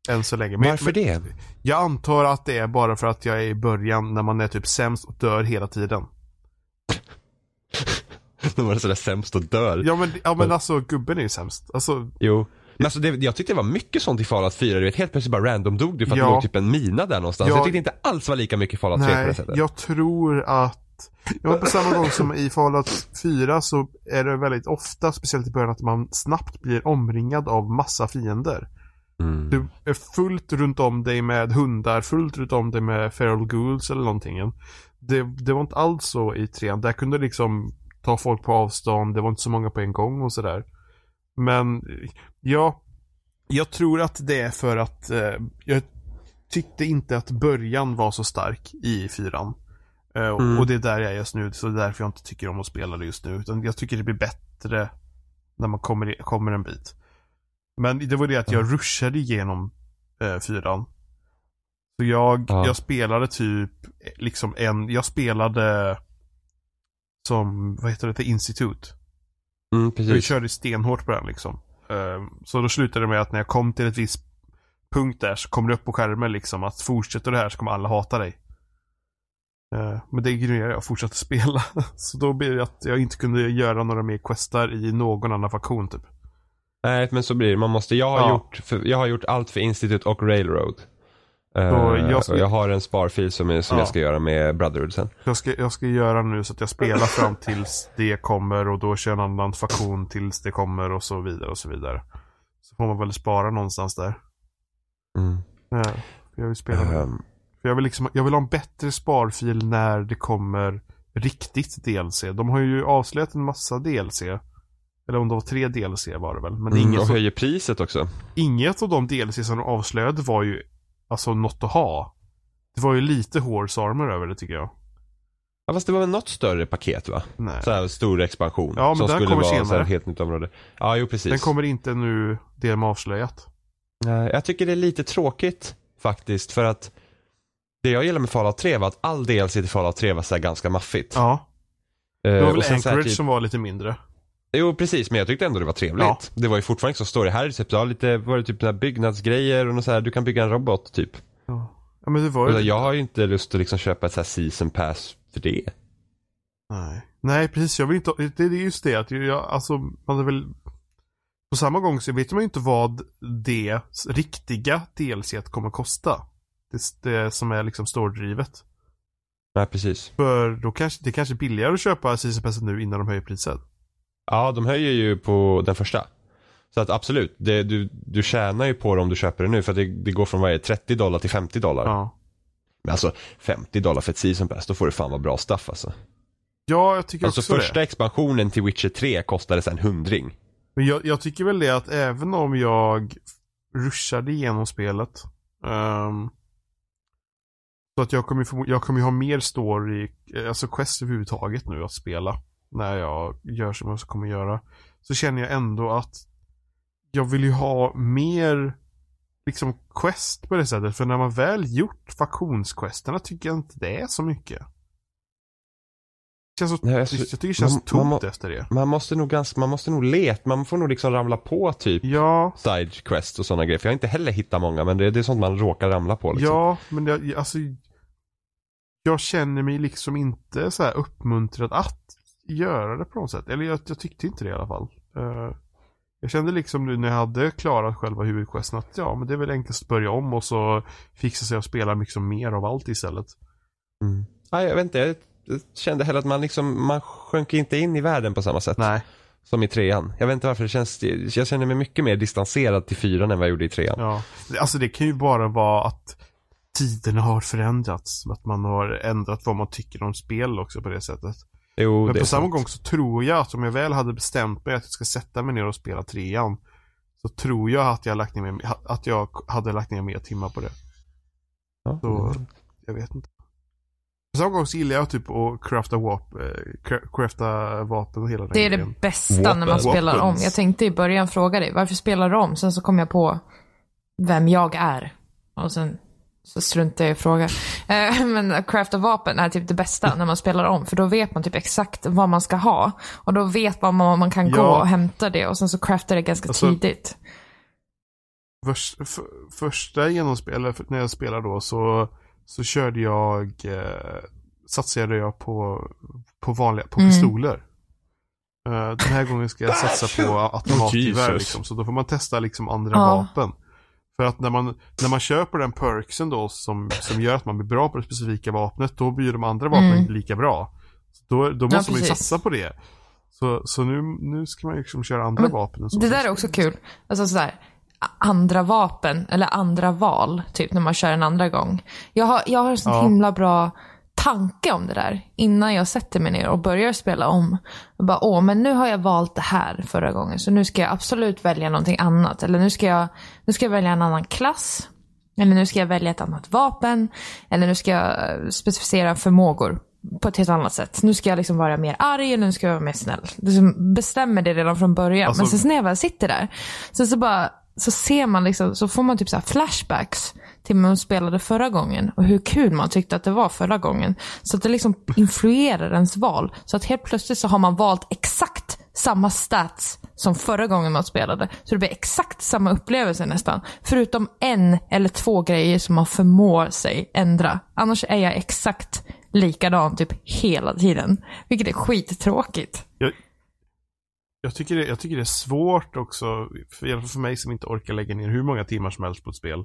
E: Än så länge. Men,
C: Varför
E: men,
C: det?
E: Jag antar att det är bara för att jag är i början när man är typ sämst och dör hela tiden.
C: De var sådär sämst och dör.
E: Ja men, ja, men alltså gubben är ju sämst. Alltså,
C: Jo. Men alltså det, jag tyckte det var mycket sånt i Fallout 4. Du vet, helt plötsligt bara random dog du för att
E: Ja.
C: det låg typ en mina där någonstans.
E: Ja.
C: Jag tyckte inte alls var lika mycket Fallout 3 på det
E: nej,
C: sättet.
E: jag tror att... Ja, men på samma gång som i Fallout 4 så är det väldigt ofta, speciellt i början, att man snabbt blir omringad av massa fiender.
C: Mm.
E: Du är fullt runt om dig med hundar, fullt runt om dig med feral ghouls eller någonting. Det, det var inte alls så i trean. Där kunde du liksom ta folk på avstånd, det var inte så många på en gång och sådär. Men eh, ja, jag tror att det är för att eh, jag tyckte inte att början var så stark i fyran. Eh, och-
C: Mm.
E: Och det är där jag är just nu, så det är därför jag inte tycker om att spela det just nu. Utan jag tycker det blir bättre när man kommer, i- kommer en bit. Men det var det att jag rushade igenom eh, fyran. Så jag,
C: Ja.
E: jag spelade typ, eh, liksom en, jag spelade som, vad heter det, The Institute.
C: Mm,
E: Vi
C: precis.
E: körde stenhårt på den liksom. Eh, Så då slutade det med att när jag kom till ett visst punkt där så kom det upp på skärmen liksom att fortsätter du här så kommer alla hata dig. Eh, Men det ignorerade jag och fortsatte spela. Så då blev det att jag inte kunde göra några mer questar i någon annan faktion typ.
C: Nej, men så blir det. Man måste, jag, har
E: Ja.
C: gjort, för, jag har gjort allt för Institute och Railroad. Eh,
E: Så jag
C: jag,
E: ska-
C: och jag har en sparfil som, är, som
E: Ja.
C: jag ska göra med Brotherhood sen.
E: Jag ska, jag ska göra nu så att jag spelar fram tills det kommer och då kör en annan faktion tills det kommer och så vidare och så vidare. Så får man väl spara någonstans där.
C: Mm.
E: Ja, jag vill spela med.
C: Ehm,
E: För jag vill, liksom, jag vill ha en bättre sparfil när det kommer riktigt DLC. De har ju avslöjat en massa DLC. Eller om det var tre DLC var det väl.
C: mm,
E: Men
C: och
E: inget,
C: höjer priset också.
E: inget av de DLC som de avslöjade var ju alltså något att ha. Det var ju lite horse armor över det tycker jag.
C: Ja, fast det var väl något större paket va?
E: Nej.
C: Så här stor expansion.
E: Ja, men
C: som
E: den
C: skulle
E: kommer
C: vara Så
E: senare.
C: här, helt nytt område. Ja, jo precis.
E: Den kommer inte nu, det de har avslöjat.
C: Nej, Eh, Jag tycker det är lite tråkigt faktiskt för att det jag gillar med Fallout 3 var att all DLC till Fallout 3 var så här ganska maffigt.
E: Ja,
C: Eh,
E: det var
C: och
E: väl
C: sen så här
E: Anchorage
C: typ-
E: som var lite mindre.
C: Jo precis, men jag tyckte ändå det var trevligt.
E: Ja.
C: Det var ju fortfarande inte så story. Här är det typ, ja, lite, var det typ några byggnadsgrejer och något så här, du kan bygga en robot typ.
E: Ja, men det typ- var
C: Och
E: ju...
C: jag har ju inte lust att liksom köpa ett så här season pass för det.
E: Nej. Nej, precis. Jag vill inte, det det är just det att jag, alltså, man är väl... På samma gång så vet man ju inte vad det riktiga DLC kommer kosta. Det, det som är liksom stordrivet.
C: Nej precis.
E: För då kanske, det kanske är billigare att köpa Season Passet nu innan de höjer priset.
C: Ja, de höjer ju på den första. Så att absolut, det, du, du tjänar ju på det om du köper det nu för att det, det går från varje 30 dollar till 50 dollar.
E: Ja.
C: Men alltså 50 dollar för ett season pass, då får du fan vara bra stuff alltså.
E: Ja, jag tycker
C: Alltså
E: också
C: första
E: det.
C: expansionen till Witcher 3 kostade sen hundring.
E: Men jag, jag tycker väl det att även om jag rushade igenom spelet. ehm, så att jag kommer, ju förmo- jag kommer ju ha mer story, eh, alltså quest överhuvudtaget nu att spela. När jag gör som jag kommer göra. Så känner jag ändå att jag vill ju ha mer liksom quest på det sättet. För när man väl gjort faktionsquesterna tycker jag inte det är så mycket. Känns så,
C: Nej,
E: jag
C: alltså,
E: tycker det känns
C: man-
E: tomt
C: man må-
E: efter det.
C: Man måste nog ganska, man måste nog leta, man får nog liksom ramla på typ
E: Ja.
C: side quests och sådana grejer. För jag har inte heller hittat många men det, det är sånt man råkar ramla på liksom.
E: Ja, men jag, alltså, jag känner mig liksom inte så här uppmuntrad att göra det på något sätt. Eller jag, jag tyckte inte det i alla fall. Eh, jag kände liksom nu när jag hade klarat själva huvudquesten att ja, men det är väl enklast att börja om och så fixa sig och spela liksom mer av allt istället.
C: Mm. Nej, jag vet inte, jag kände heller att man liksom, man sjönk inte in i världen på samma sätt.
E: Nej.
C: Som i trean. Jag vet inte varför det känns, det- jag känner mig mycket mer distanserad till fyran än vad jag gjorde i trean.
E: Ja. Alltså det kan ju bara vara att tiderna har förändrats. Att man har ändrat vad man tycker om spel också på det sättet.
C: Jo,
E: Men
C: det är
E: på samma
C: sant.
E: gång så tror jag att om jag väl hade bestämt mig att jag ska sätta mig ner och spela trean. Så tror jag att jag, lagt ner, att jag hade lagt ner mer timmar på det.
C: Ja.
E: Så jag vet inte. På samma gång så gillar jag typ att crafta, wap, eh, cra- crafta vapen och hela den
A: Det är det
E: grejen.
A: bästa när man
C: Weapons.
A: spelar om.
E: Weapons.
A: Jag tänkte i början fråga dig, varför spelar du om? Sen så kom jag på vem jag är. Och sen så struntade jag i frågan. Eh, Men att crafta vapen är typ det bästa när man spelar om. För då vet man typ exakt vad man ska ha. Och då vet man vad man kan gå
E: Ja.
A: och hämta det. Och sen så craftar det ganska
E: Alltså-
A: tidigt.
E: Förs, för, första genomspel, eller för- när jag spelade då så, så körde jag, eh, satsade jag på, på vanliga, på
A: Mm.
E: pistoler. Eh, den här gången ska jag satsa på automatgevär
B: Jesus.
E: liksom. Så då får man testa liksom andra
A: Ja.
E: vapen. För att när man, när man köper den perksen då som, som gör att man blir bra på det specifika vapnet, då blir de andra vapnen
A: Mm.
E: inte lika bra. Så då, då måste man ju
A: precis.
E: satsa på det. Så, så nu, nu ska man ju liksom köra andra
A: Men
E: vapen. Och så.
A: Det där är också kul.
E: liksom.
A: Alltså sådär, a- andra vapen eller andra val, typ när man kör en andra gång. Jag har, jag har en sån
E: Ja.
A: himla bra tanke om det där innan jag sätter mig ner och börjar spela om. Jag bara, åh, men nu har jag valt det här förra gången, så nu ska jag absolut välja någonting annat. Eller nu ska jag, nu ska jag välja en annan klass. Eller nu ska jag välja ett annat vapen. Eller nu ska jag eh, specificera förmågor på ett helt annat sätt. Nu ska jag liksom vara mer arg eller nu ska jag vara mer snäll. Liksom bestämmer det redan från början.
E: Alltså-
A: Men sen så när jag väl sitter där, sen så bara så ser man liksom, så får man typ så här flashbacks till när man spelade förra gången och hur kul man tyckte att det var förra gången. Så att det liksom influerar ens val. Så att helt plötsligt så har man valt exakt samma stats som förra gången man spelade. Så det blir exakt samma upplevelse nästan. Förutom en eller två grejer som man förmår sig ändra. Annars är jag exakt likadan typ hela tiden. Vilket är skittråkigt.
E: Jag tycker, det, jag tycker det är svårt också, för, i alla fall för mig som inte orkar lägga ner hur många timmar som helst på ett spel,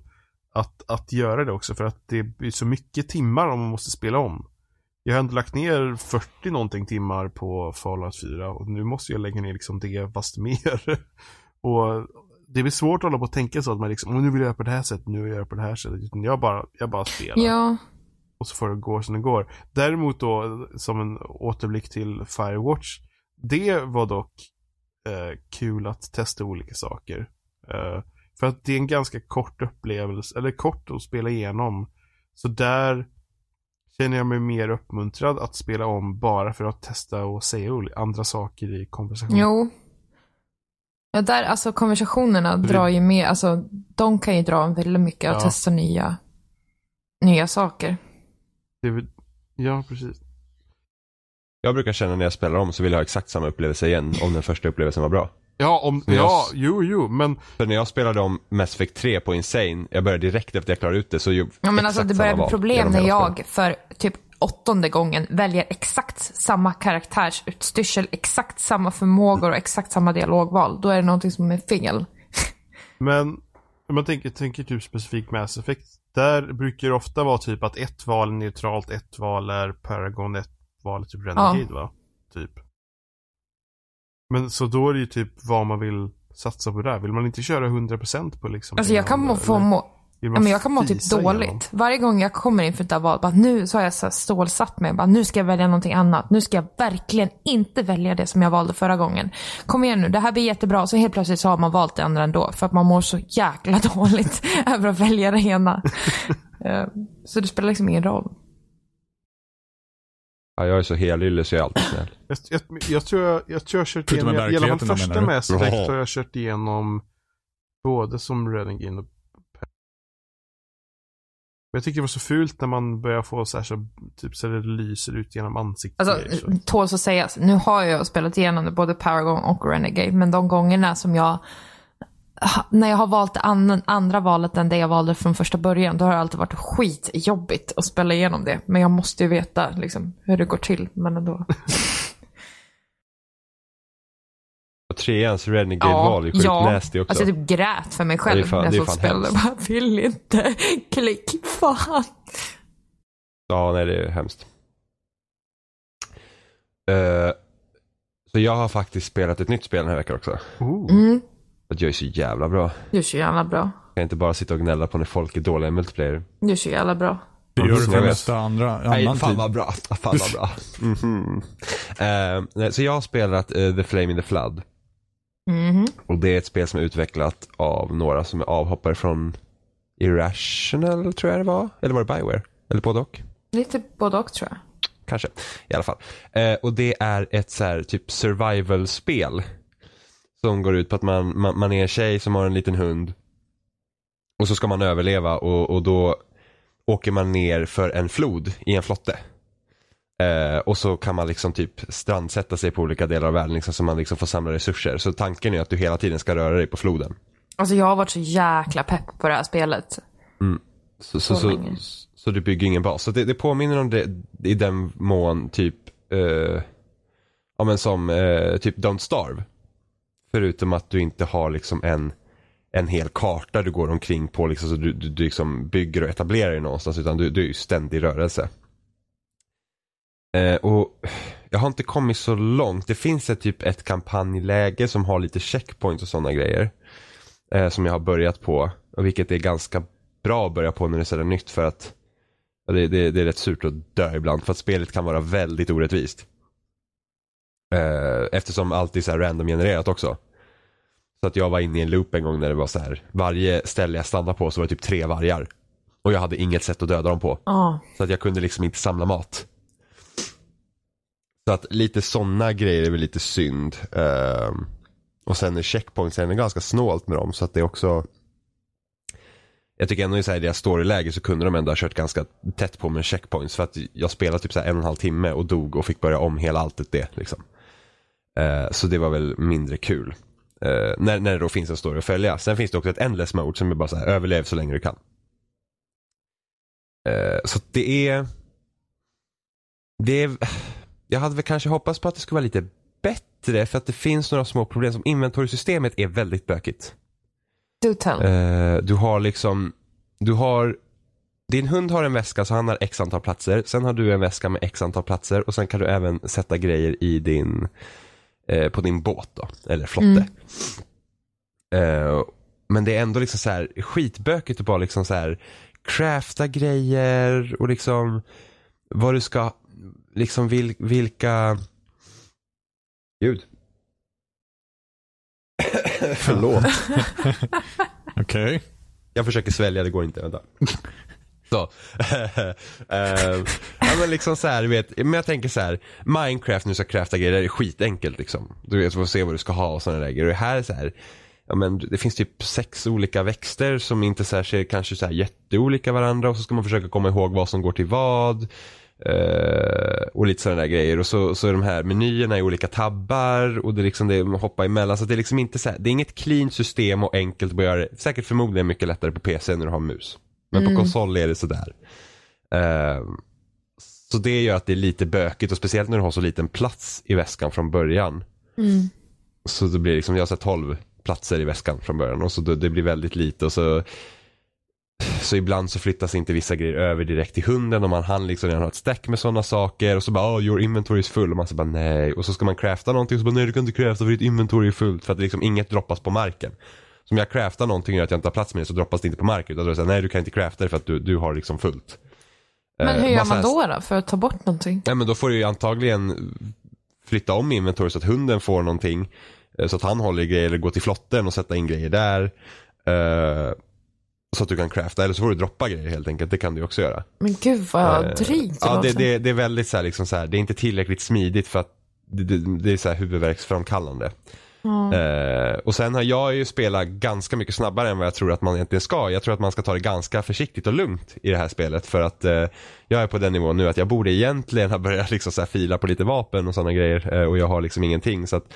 E: att, att göra det också. För att det blir så mycket timmar om man måste spela om. Jag har ändå lagt ner 40 någonting timmar på Fallout 4 och nu måste jag lägga ner liksom det fast mer. och det blir svårt att hålla på och tänka så att man liksom, "Åh, nu vill jag göra på det här sättet, nu vill jag göra på det här sättet. Utan jag bara, jag bara spelar
A: Ja.
E: och så får det gå som det går. Däremot då, som en återblick till Firewatch. Det var dock eh, kul att testa olika saker. Eh, för att det är en ganska kort upplevelse, eller kort att spela igenom. Så där känner jag mig mer uppmuntrad att spela om bara för att testa och säga oli- andra saker i konversation.
A: Jo. Ja, där, alltså konversationerna drar ju med, alltså de kan ju dra en väldigt mycket och
E: Ja.
A: testa nya, nya saker.
E: Det är väl- ja, precis.
C: Jag brukar känna när jag spelar om så vill jag ha exakt samma upplevelse igen om den första upplevelsen var bra.
E: Ja, om,
C: Yes.
E: ja, jo, jo, men
C: För när jag spelade om Mass Effect 3 på Insane, jag började direkt efter jag klarade ut det så gjorde
A: Ja, men
C: exakt
A: alltså det
C: samma
A: börjar bli
C: val
A: problem
C: genom hela
A: när
C: spelet.
A: jag för typ åttonde gången väljer exakt samma karaktärsutstyrsel, exakt samma förmågor och exakt samma dialogval. Då är det någonting som är fel.
E: Men om man tänker, tänker typ specifikt Mass Effect. Där brukar det ofta vara typ att ett val är neutralt, ett val är Paragon, ett val är typ Renegade va? Typ. Men så då är det ju typ vad man vill satsa på där. Vill man inte köra 100% på liksom?
A: Alltså jag kan må,
E: igenom det,
A: få
E: eller
A: må,
E: vill
A: ja,
E: man
A: men jag kan må typ
E: fisa igenom?
A: dåligt. Varje gång jag kommer inför ett där val, bara, nu så har jag så här stålsatt mig. Bara, nu ska jag välja någonting annat. Nu ska jag verkligen inte välja det som jag valde förra gången. Kom igen nu, det här blir jättebra. Så helt plötsligt så har man valt det andra ändå. För att man mår så jäkla dåligt över att välja det ena. Eh, så det spelar liksom ingen roll.
C: Ja, jag är så helylle så jag är alltid snäll.
E: Jag, jag, jag, tror jag, jag tror jag har kört
B: Förutom
E: igenom,
B: i
E: i alla fall
B: verkligheten, menar
E: första
B: du?
E: Mass Effect
C: Ja.
E: har jag kört igenom både som Renegade och Per- Jag tycker det var så fult när man börjar få så här så, typ så det lyser ut genom ansiktet.
A: Alltså,
E: och grejer, så.
A: tåls att sägas. Nu har jag spelat igenom det, både Paragon och Renegade, men de gångerna som jag när jag har valt det an- andra valet än det jag valde från första början, då har det alltid varit skitjobbigt att spela igenom det. Men jag måste ju veta liksom, hur det går till. Men ändå.
C: Och treans Renegade-val är sjukt nasty också.
A: Alltså jag typ grät för mig själv
C: Ja, det är fan-
A: när jag
C: det är
A: satt och spelade.
C: fan hemskt.
A: Jag bara, vill inte. Klick. Fan.
C: Ja, nej det är hemskt. Eh, så jag har faktiskt spelat ett nytt spel den här veckan också.
E: Oh.
A: Mm,
C: För att jag är så jävla bra. Jag
A: du är så jävla bra.
C: kan inte bara sitta och gnälla på när folk är dåliga i multiplayer.
A: Du är så jävla bra.
B: Det gör du för
C: Jag vet.
B: mesta andra, annan tid.
C: vad bra. Fan vad bra. Mhm. Eh, nej, så jag har spelat eh, The Flame in the Flood.
A: Mhm.
C: Och det är ett spel som är utvecklat av några som är avhoppare från Irrational tror jag det var. Eller var det Bioware? Eller både och?
A: Lite både och tror jag.
C: Kanske. I alla fall. Eh, och det är ett så här typ survival-spel. Som går ut på att man, man, man är en tjej som har en liten hund. Och så ska man överleva och, och då åker man ner för en flod i en flotte. Eh, och så kan man liksom typ strandsätta sig på olika delar av världen liksom, så man liksom får samla resurser. Så tanken är att du hela tiden ska röra dig på floden.
A: Alltså jag har varit så jäkla pepp på det här spelet.
C: Så, så,
A: Så
C: så,
A: länge.
C: så, du bygger ingen bas. Så det, det påminner om det i den mån typ, eh, ja men som eh, typ Don't Starve. Förutom att du inte har liksom en, en hel karta du går omkring på liksom, så du, du, du liksom bygger och etablerar dig någonstans utan du, du är ju ständig rörelse. Eh, och jag har inte kommit så långt. Det finns ett, typ ett kampanjläge som har lite checkpoints och sådana grejer. Eh, som jag har börjat på. Och vilket är ganska bra att börja på när det är sådär nytt för att ja, det, det, det är rätt surt att dö ibland för att spelet kan vara väldigt orättvist. Eh, eftersom allt är så här random genererat också. Så att jag var inne i en loop en gång när det var så här varje ställe jag stannade på så var det typ tre vargar. Och jag hade inget sätt att döda dem på.
A: Ja.
C: Så att jag kunde liksom inte samla mat. Så att lite sådana grejer är väl lite synd. Ehm, och sen är checkpoints är ganska snålt med dem så att det är också jag tycker ändå i så här deras storyläge så kunde de ändå ha kört ganska tätt på med checkpoints. För att jag spelade typ så här en och en halv timme och dog och fick börja om hela alltet det. Liksom. Eh, så det var väl mindre kul. Eh, när, när det då finns en story att följa. Sen finns det också ett endless mode som är bara så här överlev så länge du kan. Eh, så att det är... Det är... Jag hade väl kanske hoppats på att det skulle vara lite bättre för att det finns några små problem som inventorysystemet är väldigt bökigt.
A: Do tell.
C: Eh, du har liksom, du har, din hund har en väska så han har x antal platser. Sen har du en väska med x antal platser och sen kan du även sätta grejer i din, eh, på din båt då, eller flotte. Eh, men det är ändå liksom så här skitbökigt att bara liksom så här crafta grejer och liksom vad du ska, liksom vil, vilka, ljud. Förlåt.
B: Okej.
C: Jag försöker svälja, det går inte. Vänta. Så. Eh, ja, men liksom så här, du vet, men jag tänker så här. Minecraft nu ska crafta grejer, det är skitenkelt liksom. Du vet, du får se vad du ska ha och sådana där grejer. Och här är så här, ja men det finns typ sex olika växter som inte så här ser kanske så här jätteolika varandra och så ska man försöka komma ihåg vad som går till vad. Eh, och lite sådana där grejer. Och så, så är de här menyerna i olika tabbar och det är liksom det man hoppar emellan. Så det är liksom inte så här, det är inget clean system och enkelt att börja göra det. Säkert förmodligen mycket lättare på PC när du har mus. Men på konsol är det sådär. Eh, så det gör att det är lite bökigt och speciellt när du har så liten plats i väskan från början.
A: Mm.
C: Så det blir liksom, jag har sett 12 platser i väskan från början och så det, det blir väldigt lite och så så ibland så flyttas inte vissa grejer över direkt till hunden och man hann liksom redan ha ett stack med sådana saker och så bara oh, your inventory is full och man så bara nej och så ska man crafta någonting och så bara nej du kan inte crafta för ditt inventory är fullt för att liksom inget droppas på marken. Så om jag craftar någonting och gör att jag inte har plats med det så droppas det inte på marken utan då är det så här, nej du kan inte crafta det för att du, du har liksom fullt.
A: Men hur
C: Eh, bara
A: gör
C: så
A: man
C: här-
A: då, då för att ta bort någonting?
C: Nej men då får du ju antagligen flytta om inventory så att hunden får någonting. eh, Så att han håller i grejer eller gå till flotten och sätta in grejer där. eh, Så att du kan crafta eller så får du droppa grejer helt enkelt. Det kan du ju också göra.
A: Men gud vad
C: Eh,
A: drygt
C: Ja, det,
A: låter.
C: det, det är väldigt så här, liksom så här, det är inte tillräckligt smidigt för att det, det, det är så här huvudvärksframkallande.
A: Ja.
C: Eh, och sen har jag ju spelat ganska mycket snabbare än vad jag tror att man egentligen ska. Jag tror att man ska ta det ganska försiktigt och lugnt i det här spelet för att eh, jag är på den nivån nu att jag borde egentligen ha börjat liksom så här fila på lite vapen och sådana grejer eh, och jag har liksom ingenting så att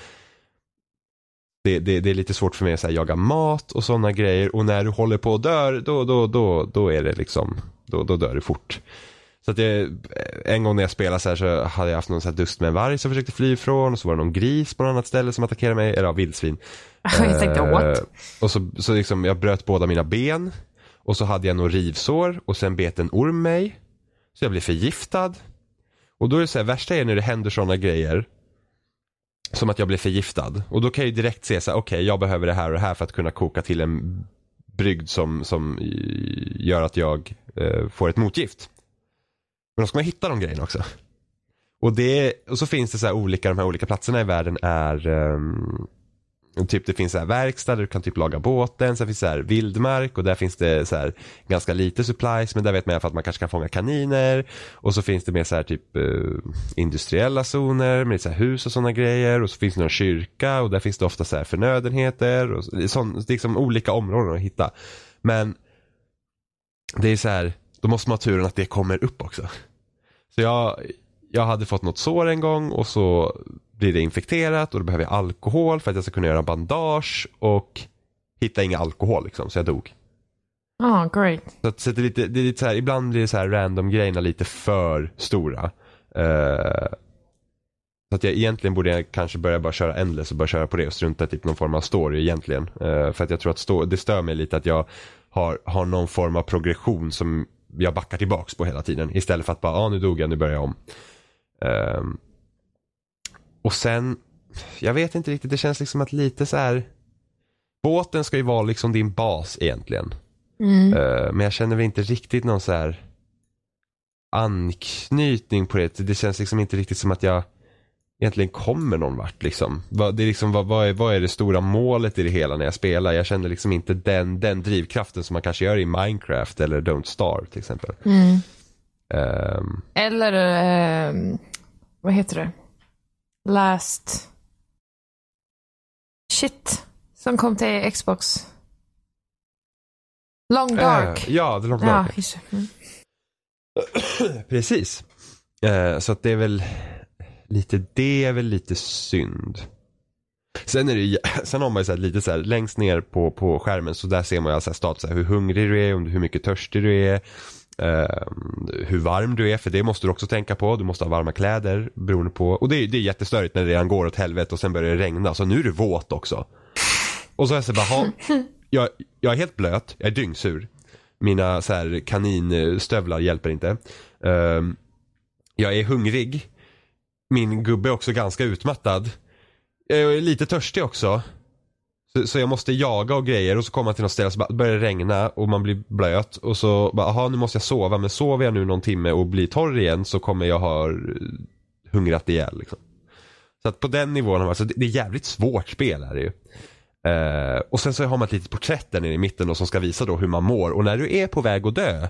C: det, det, det är lite svårt för mig att så här, jaga mat och sådana grejer och när du håller på och dör då, då, då, då är det liksom, då, då dör du fort. Så att jag, en gång när jag spelade så här så hade jag haft någon så här dust med en varg som jag försökte fly ifrån och så var det någon gris på något annat ställe som attackerade mig, eller ja, vildsvin.
A: jag tänkte
C: Eh,
A: what?
C: Och så, så liksom, jag bröt båda mina ben. Och så hade jag några rivsår och sen bet en orm mig. Så jag blev förgiftad. Och då är det så här, värsta är när det händer sådana grejer. Som att jag blev förgiftad. Och då kan jag ju direkt se så här, okej jag behöver det här och det här för att kunna koka till en brygd som, som eh, gör att jag eh, får ett motgift. Men då ska man hitta de grejerna också. Och, det, och så finns det så här olika, de här olika platserna i världen är ehm, Och Typ det finns så här verkstad där du kan typ laga båten, sen finns det så här vildmark och där finns det så här ganska lite supplies men där vet man i alla fall att man kanske kan fånga kaniner. Och så finns det mer så här typ eh, industriella zoner med så här hus och sådana grejer och så finns det någon kyrka och där finns det ofta så här förnödenheter och så, det är sån, liksom olika områden att hitta. Men det är så här, då måste man ha turen att det kommer upp också. Så jag, jag hade fått något sår en gång och så blir det infekterat och då behöver jag alkohol för att jag ska kunna göra bandage och hitta inga alkohol liksom, så jag dog.
A: Ja, great.
C: Så, att, så att det, är lite, det är lite så här, ibland blir det så här random grejerna lite för stora. Eh, så att jag egentligen borde jag kanske börja bara köra Endless och bara köra på det och strunta i typ någon form av story egentligen. Eh, för att jag tror att stå, det stör mig lite att jag har, har någon form av progression som jag backar tillbaks på hela tiden. Istället för att bara, ja ah, nu dog jag, nu börjar jag om. Ehm, och sen, jag vet inte riktigt, det känns liksom att lite så här. Båten ska ju vara liksom din bas egentligen.
A: Mm.
C: Eh, Men jag känner väl inte riktigt någon så här anknytning på det. Det känns liksom inte riktigt som att jag egentligen kommer någon vart liksom. Vad, det är liksom vad, vad, är, vad är det stora målet i det hela när jag spelar? Jag känner liksom inte den, den drivkraften som man kanske gör i Minecraft eller Don't Starve till exempel.
A: Mm.
C: Ehm,
A: Eller, ehm, vad heter det? Last... Shit. Som kom till Xbox. Long Dark.
C: eh, ja, The Long
A: ja,
C: Dark.
A: just det. Mm.
C: Precis. Eh, så att det är väl lite, det är väl lite synd. Sen, är det, ju- sen har man ju så här, lite så här, längst ner på, på skärmen så där ser man ju alltså status, så här, hur hungrig du är, om du- hur mycket törstig du är, eh, hur varm du är, för det måste du också tänka på. Du måste ha varma kläder beroende på, och det är, det är jättestörigt när det redan går åt helvete och sen börjar det regna, så nu är du våt också. Och så är jag så här, bara, "Ha, jag, jag är helt blöt, jag är dyngsur. Mina så här, kaninstövlar hjälper inte. Ehm, jag är hungrig. Min gubbe är också ganska utmattad. Jag är lite törstig också. Så, så jag måste jaga och grejer och så kommer man till något ställe och så bara börjar det regna och man blir blöt. Och så bara, aha nu måste jag sova. Men sover jag nu någon timme och blir torr igen så kommer jag ha eh, hungrat ihjäl. Liksom. Så att på den nivån, har man- så det, det är jävligt svårt spel är det ju. Eh, och sen så har man ett litet porträtt där nere i mitten då, som ska visa då hur man mår. Och när du är på väg att dö,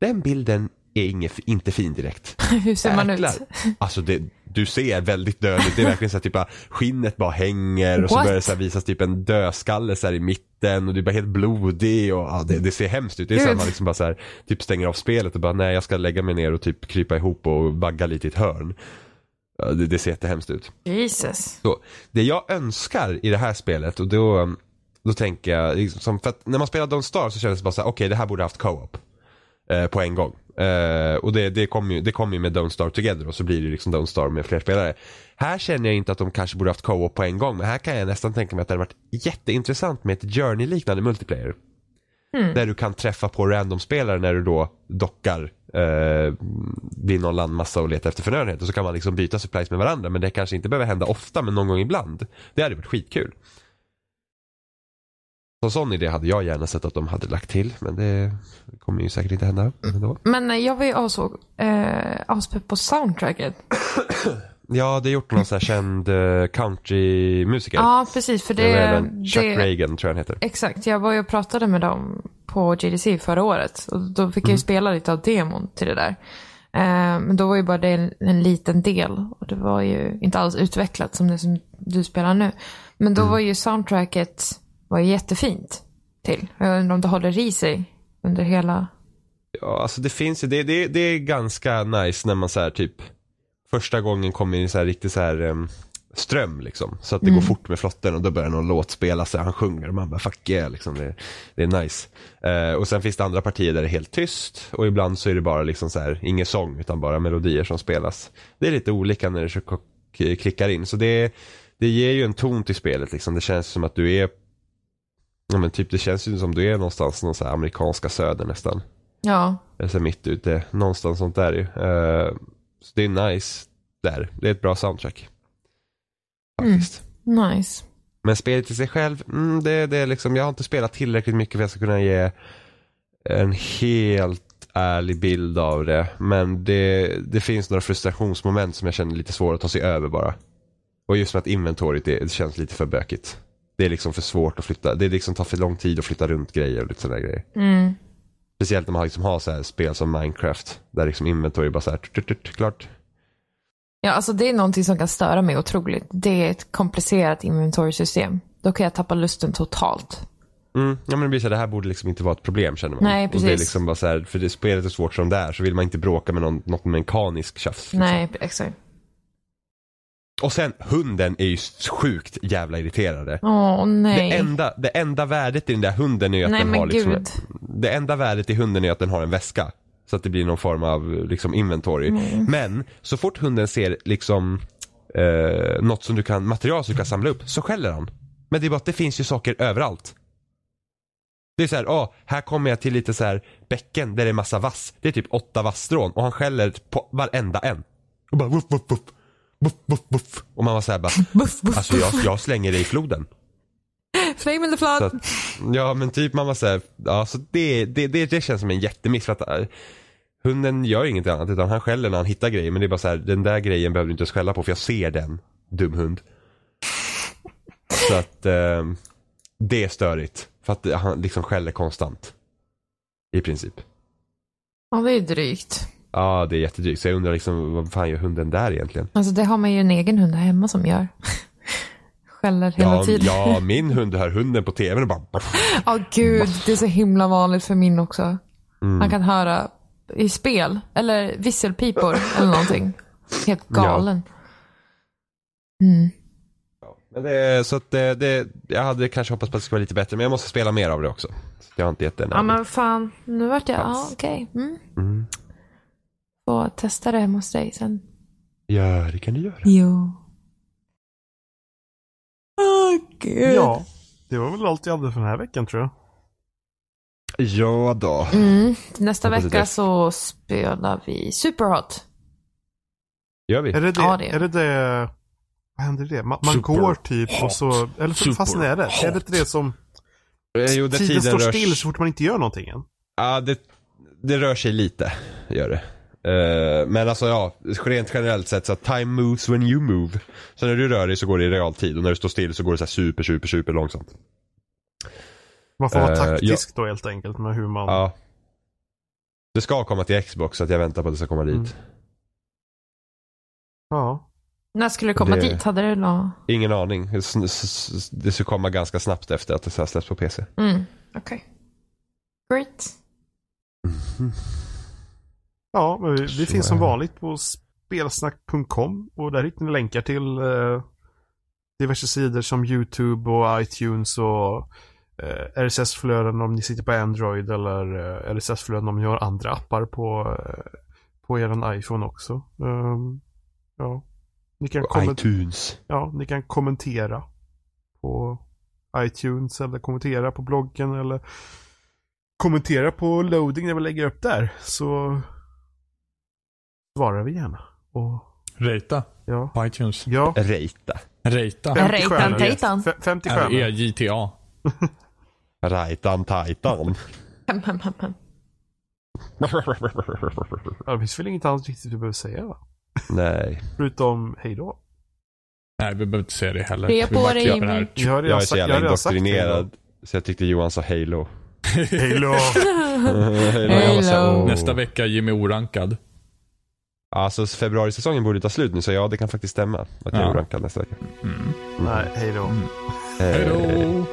C: den bilden är inget, inte fin direkt.
A: Hur ser man
C: Jäklar.
A: ut?
C: Alltså det, du ser väldigt död ut. Det är verkligen så här, typ, bara, skinnet bara hänger och så
A: What?
C: börjar det så här, visas typ en dödskalle så här, i mitten och du är bara helt blodig och ja, det, det ser hemskt ut. Det är så här,
A: Gud.
C: man liksom bara så här, typ stänger av spelet och bara nej jag ska lägga mig ner och typ krypa ihop och vagga lite i ett hörn. Ja, Det, det ser jättehemskt ut.
A: Jesus.
C: Så, det jag önskar i det här spelet och då, då tänker jag, liksom, som- för att när man spelar Don't Star så kändes det bara så här, okej det här borde haft co-op. Eh, på en gång. Eh, och det, det kom ju, det kom ju med Don't Star Together och så blir det ju liksom Don't Star med fler spelare. Här känner jag inte att de kanske borde haft co-op på en gång men här kan jag nästan tänka mig att det hade varit jätteintressant med ett Journey-liknande multiplayer. Där du kan träffa på random-spelare när du då dockar eh, vid någon landmassa och letar efter förnödenheter. Så kan man liksom byta supplies med varandra. Men det kanske inte behöver hända ofta men någon gång ibland. Det hade varit skitkul. Så sån idé hade jag gärna sett att de hade lagt till. Men det kommer ju säkert inte hända ändå.
A: Men eh, jag var ju avsåg, eh, avspepp på soundtracket.
C: Ja, det är gjort någon sån här känd eh, countrymusiker.
A: Ja, precis. För
C: Jag vet
A: det...
C: inte, Chuck
A: det
C: Reagan tror jag han heter.
A: Exakt, jag var ju och pratade med dem på GDC förra året. Och då fick jag ju spela lite av demon till det där. Eh, Men då var ju bara det en, en liten del. Och det var ju inte alls utvecklat som det som du spelar nu. Men då var ju soundtracket var ju jättefint till. Jag undrar om det håller i sig under hela...
C: Ja, alltså det finns ju, det, det, det är ganska nice när man så här typ första gången kommer i en så här riktig så här em, ström liksom. Så att det går fort med flotten och då börjar någon låt spela så här, han sjunger och man bara fuck yeah liksom. Det, det är nice. Eh, och sen finns det andra partier där det är helt tyst och ibland så är det bara liksom så här ingen sång utan bara melodier som spelas. Det är lite olika när det så k- k- klickar in så det, det ger ju en ton till spelet liksom. Det känns som att du är Ja men typ det känns ju som du är någonstans någon så här amerikanska söder nästan.
A: Ja,
C: Eller så mitt ute, någonstans sånt där ju. Eh, så det är nice där. Det är ett bra soundtrack. Faktiskt.
A: nice.
C: Men spelet i sig själv, mm, det, det är liksom, jag har inte spelat tillräckligt mycket för att jag ska kunna ge en helt ärlig bild av det. Men det, det finns några frustrationsmoment som jag känner är lite svåra att ta sig över bara. Och just med att inventoriet är, det känns lite för bökigt. Det är liksom för svårt att flytta. Det är liksom tar för lång tid att flytta runt grejer och lite sådana grejer.
A: Mm.
C: Speciellt när man liksom har så här spel som Minecraft. Där liksom inventory bara så här, tut, tut, tut, klart.
A: Ja, alltså det är någonting som kan störa mig otroligt. Det är ett komplicerat inventory-system. Då kan jag tappa lusten totalt.
C: Mm. Ja men det blir så här, det här borde liksom inte vara ett problem känner man.
A: Nej,
C: Och det är
A: precis.
C: liksom bara så här, för det spelet är svårt som det är så vill man inte bråka med någon, något mekaniskt tjafs. liksom.
A: Nej, exakt.
C: Och sen hunden är ju sjukt jävla irriterande.
A: Åh, nej.
C: Det enda, det enda värdet i den där hunden är ju att
A: nej,
C: den har
A: men
C: liksom,
A: gud.
C: Det enda värdet i hunden är att den har en väska. Så att det blir någon form av liksom inventory. Men så fort hunden ser liksom eh, något som du kan, material som du kan samla upp så skäller han. Men det är bara att det finns ju saker överallt. Det är så här, ah, här kommer jag till lite så här bäcken där det är massa vass. Det är typ åtta vassstrån och han skäller på varenda en. Och bara woof woof woof. Woof woof woof. Och man var så här bara,
A: Buff, buff,
C: alltså jag, jag slänger dig i floden.
A: flame in the flood.
C: Så att, ja men typ man var såhär, ja så det, det, det, det känns som en jättemiss för att äh, hunden gör inget annat utan han skäller när han hittar grejer men det är bara så här: den där grejen behöver du inte ens skälla på för jag ser den, dum hund. Så att eh, det är störigt för att han liksom skäller konstant. I princip.
A: Ja, det är ju drygt.
C: Ja det är jättedrygt så jag undrar liksom vad fan gör hunden där egentligen?
A: Alltså det har man ju en egen hund här hemma som gör. Skäller hela
C: Ja,
A: tiden. Ja,
C: ja min hund hör hunden på tvn och bara
A: gud. Det är så himla vanligt för min också.
C: Mm.
A: Man kan höra i spel, eller visselpipor eller någonting. Helt galen. Mm.
C: Men det, så att det, det, jag hade kanske hoppats på att det skulle vara lite bättre, men jag måste spela mer av det också. Så jag har inte gett det en
A: Ja, men fan. Nu vart jag, ja okej. Mm.
C: Mm.
A: Får testa det hemma hos dig sen.
C: Ja, det kan du göra.
A: Jo. Åh gud.
E: Ja, det var väl allt jag hade för den här veckan tror jag.
C: Ja då.
A: Mm. Nästa
C: Hoppas
A: vecka
C: det.
A: så spelar vi Superhot.
C: Gör vi?
E: Är det det?
A: Ja, det är
E: är det, det vad händer i det? Man, man
B: Super
E: går typ och så,
B: hot.
E: eller så
B: Super
E: fastnar jag i det. Är det
B: hot.
E: inte det som,
C: Eh, Jo, där
E: tiden,
C: tiden
E: står
C: rör
E: still
C: sig.
E: så fort man inte gör någonting än?
C: Ja, det, det rör sig lite. Gör det. Eh, Men alltså ja, rent generellt sett så att time moves when you move. Så när du rör dig så går det i realtid och när du står still så går det så här super, super, super långsamt.
E: Man får vara
C: Eh,
E: taktisk då helt enkelt med hur man...
C: Ja. Det ska komma till Xbox så att jag väntar på att det ska komma dit.
E: Mm. ja.
A: När skulle det komma
C: Det-
A: dit? Hade du något?
C: Ingen aning. S- s- s- Det ska komma ganska snabbt efter att det så här släpps på PC.
A: Mm. Okej. Great.
E: Ja, men vi,
C: Så
E: vi finns som
C: är det.
E: vanligt på spelsnack.com och där hittar ni länkar till eh, diverse sidor som YouTube och iTunes och eh, RSS-flöden om ni sitter på Android eller eh, RSS-flöden om ni har andra appar på, eh, på er iPhone också. Ehm, ja. Ni, kan
C: Och
E: kommen-
C: iTunes.
E: ja, ni kan kommentera på iTunes eller kommentera på bloggen eller kommentera på loading när vi lägger upp där så svarar vi gärna. Och
B: Rata
E: ja,
B: på iTunes.
E: ja.
C: Rata.
B: Rata.
A: Ja.
E: 50
A: Rejtan
E: stjärnor.
A: Tejtan.
E: F- 50
C: Alltså,
B: E
E: stjärnor.
B: R-E-J-T-A.
C: Rajtan tajtan.
A: Hem, hem, hem, hem.
E: Ja, det finns väl inget annat riktigt vi behöver säga va?
C: Nej.
E: Förutom hej då.
B: Nej, vi behöver inte säga det heller.
A: Tre
B: Vi
A: på
B: bara
A: dig,
B: klipper
A: Jimmy.
B: här.
E: Jag har redan
C: Jag är så
E: sagt-
C: jävla
E: jag har redan sagt hej då.
C: indoktrinerad. Så jag tyckte Johan sa Halo.
E: Hej då.
C: Halo. jag var så här,
A: Halo.
C: "Åh."
B: Nästa vecka Jimmy Orankad.
C: Alltså februarisäsongen borde ta slut nu så ja det kan faktiskt stämma. Att jag
B: Ja.
C: är orankad nästa vecka.
E: Mm.
C: Mm.
E: Nej, hej då.
B: Hej
C: Eh,
B: då!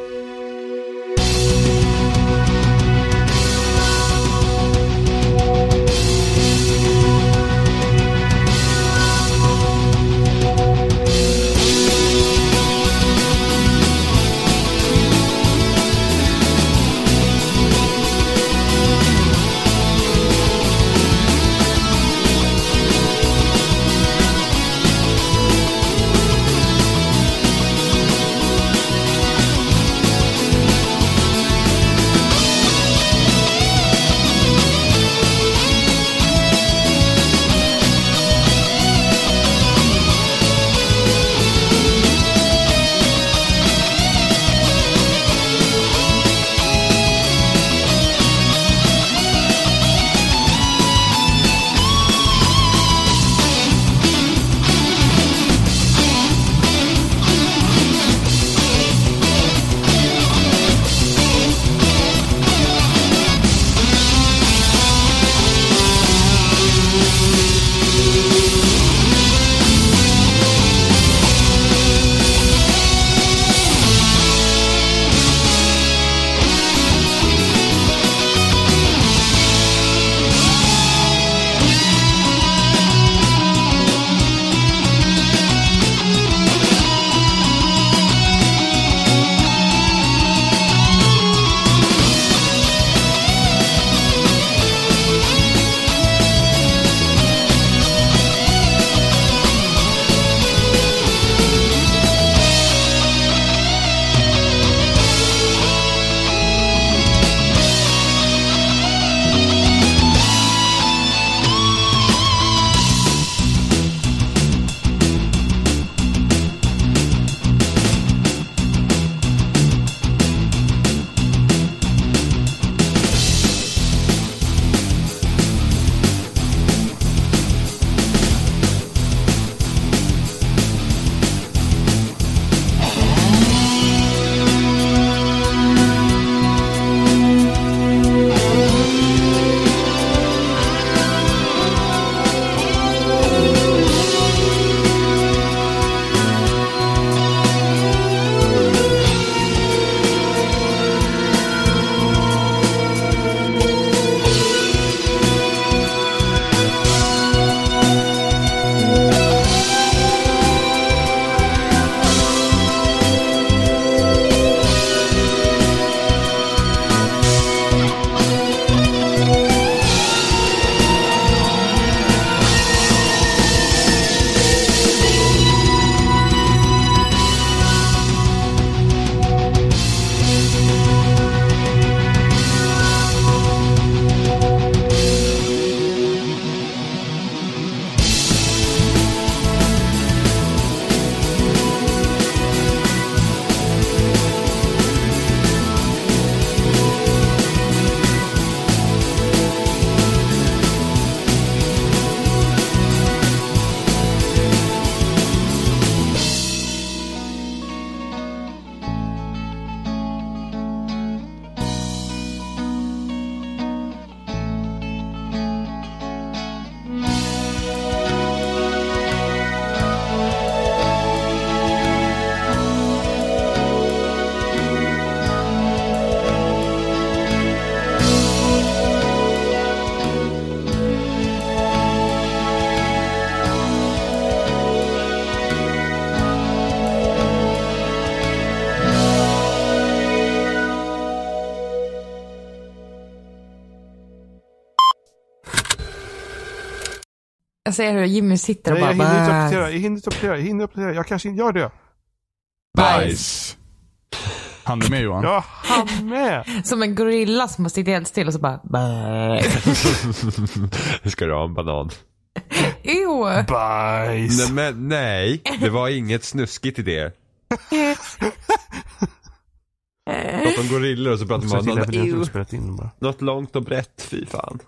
A: Jag ser hur Jimmy sitter och
E: Nej, jag
A: bara...
E: hinner inte uppdatera, jag hinner inte uppdatera, jag hinner uppdatera. Jag kanske inte gör det.
B: Bajs. Hann du med Johan?
E: Jag hann med.
A: Som en gorilla som har sitter helt still och så bara... "Bäh."
C: Ska du ha en banan?
A: Ew.
E: Bajs.
C: Nej, men, nej, det var inget snuskigt i det. Pratar om gorillor och så pratar man om
E: Jag
C: något,
E: Alltså, till evidensen och spelat in bara.
C: något långt och brett, fy fan.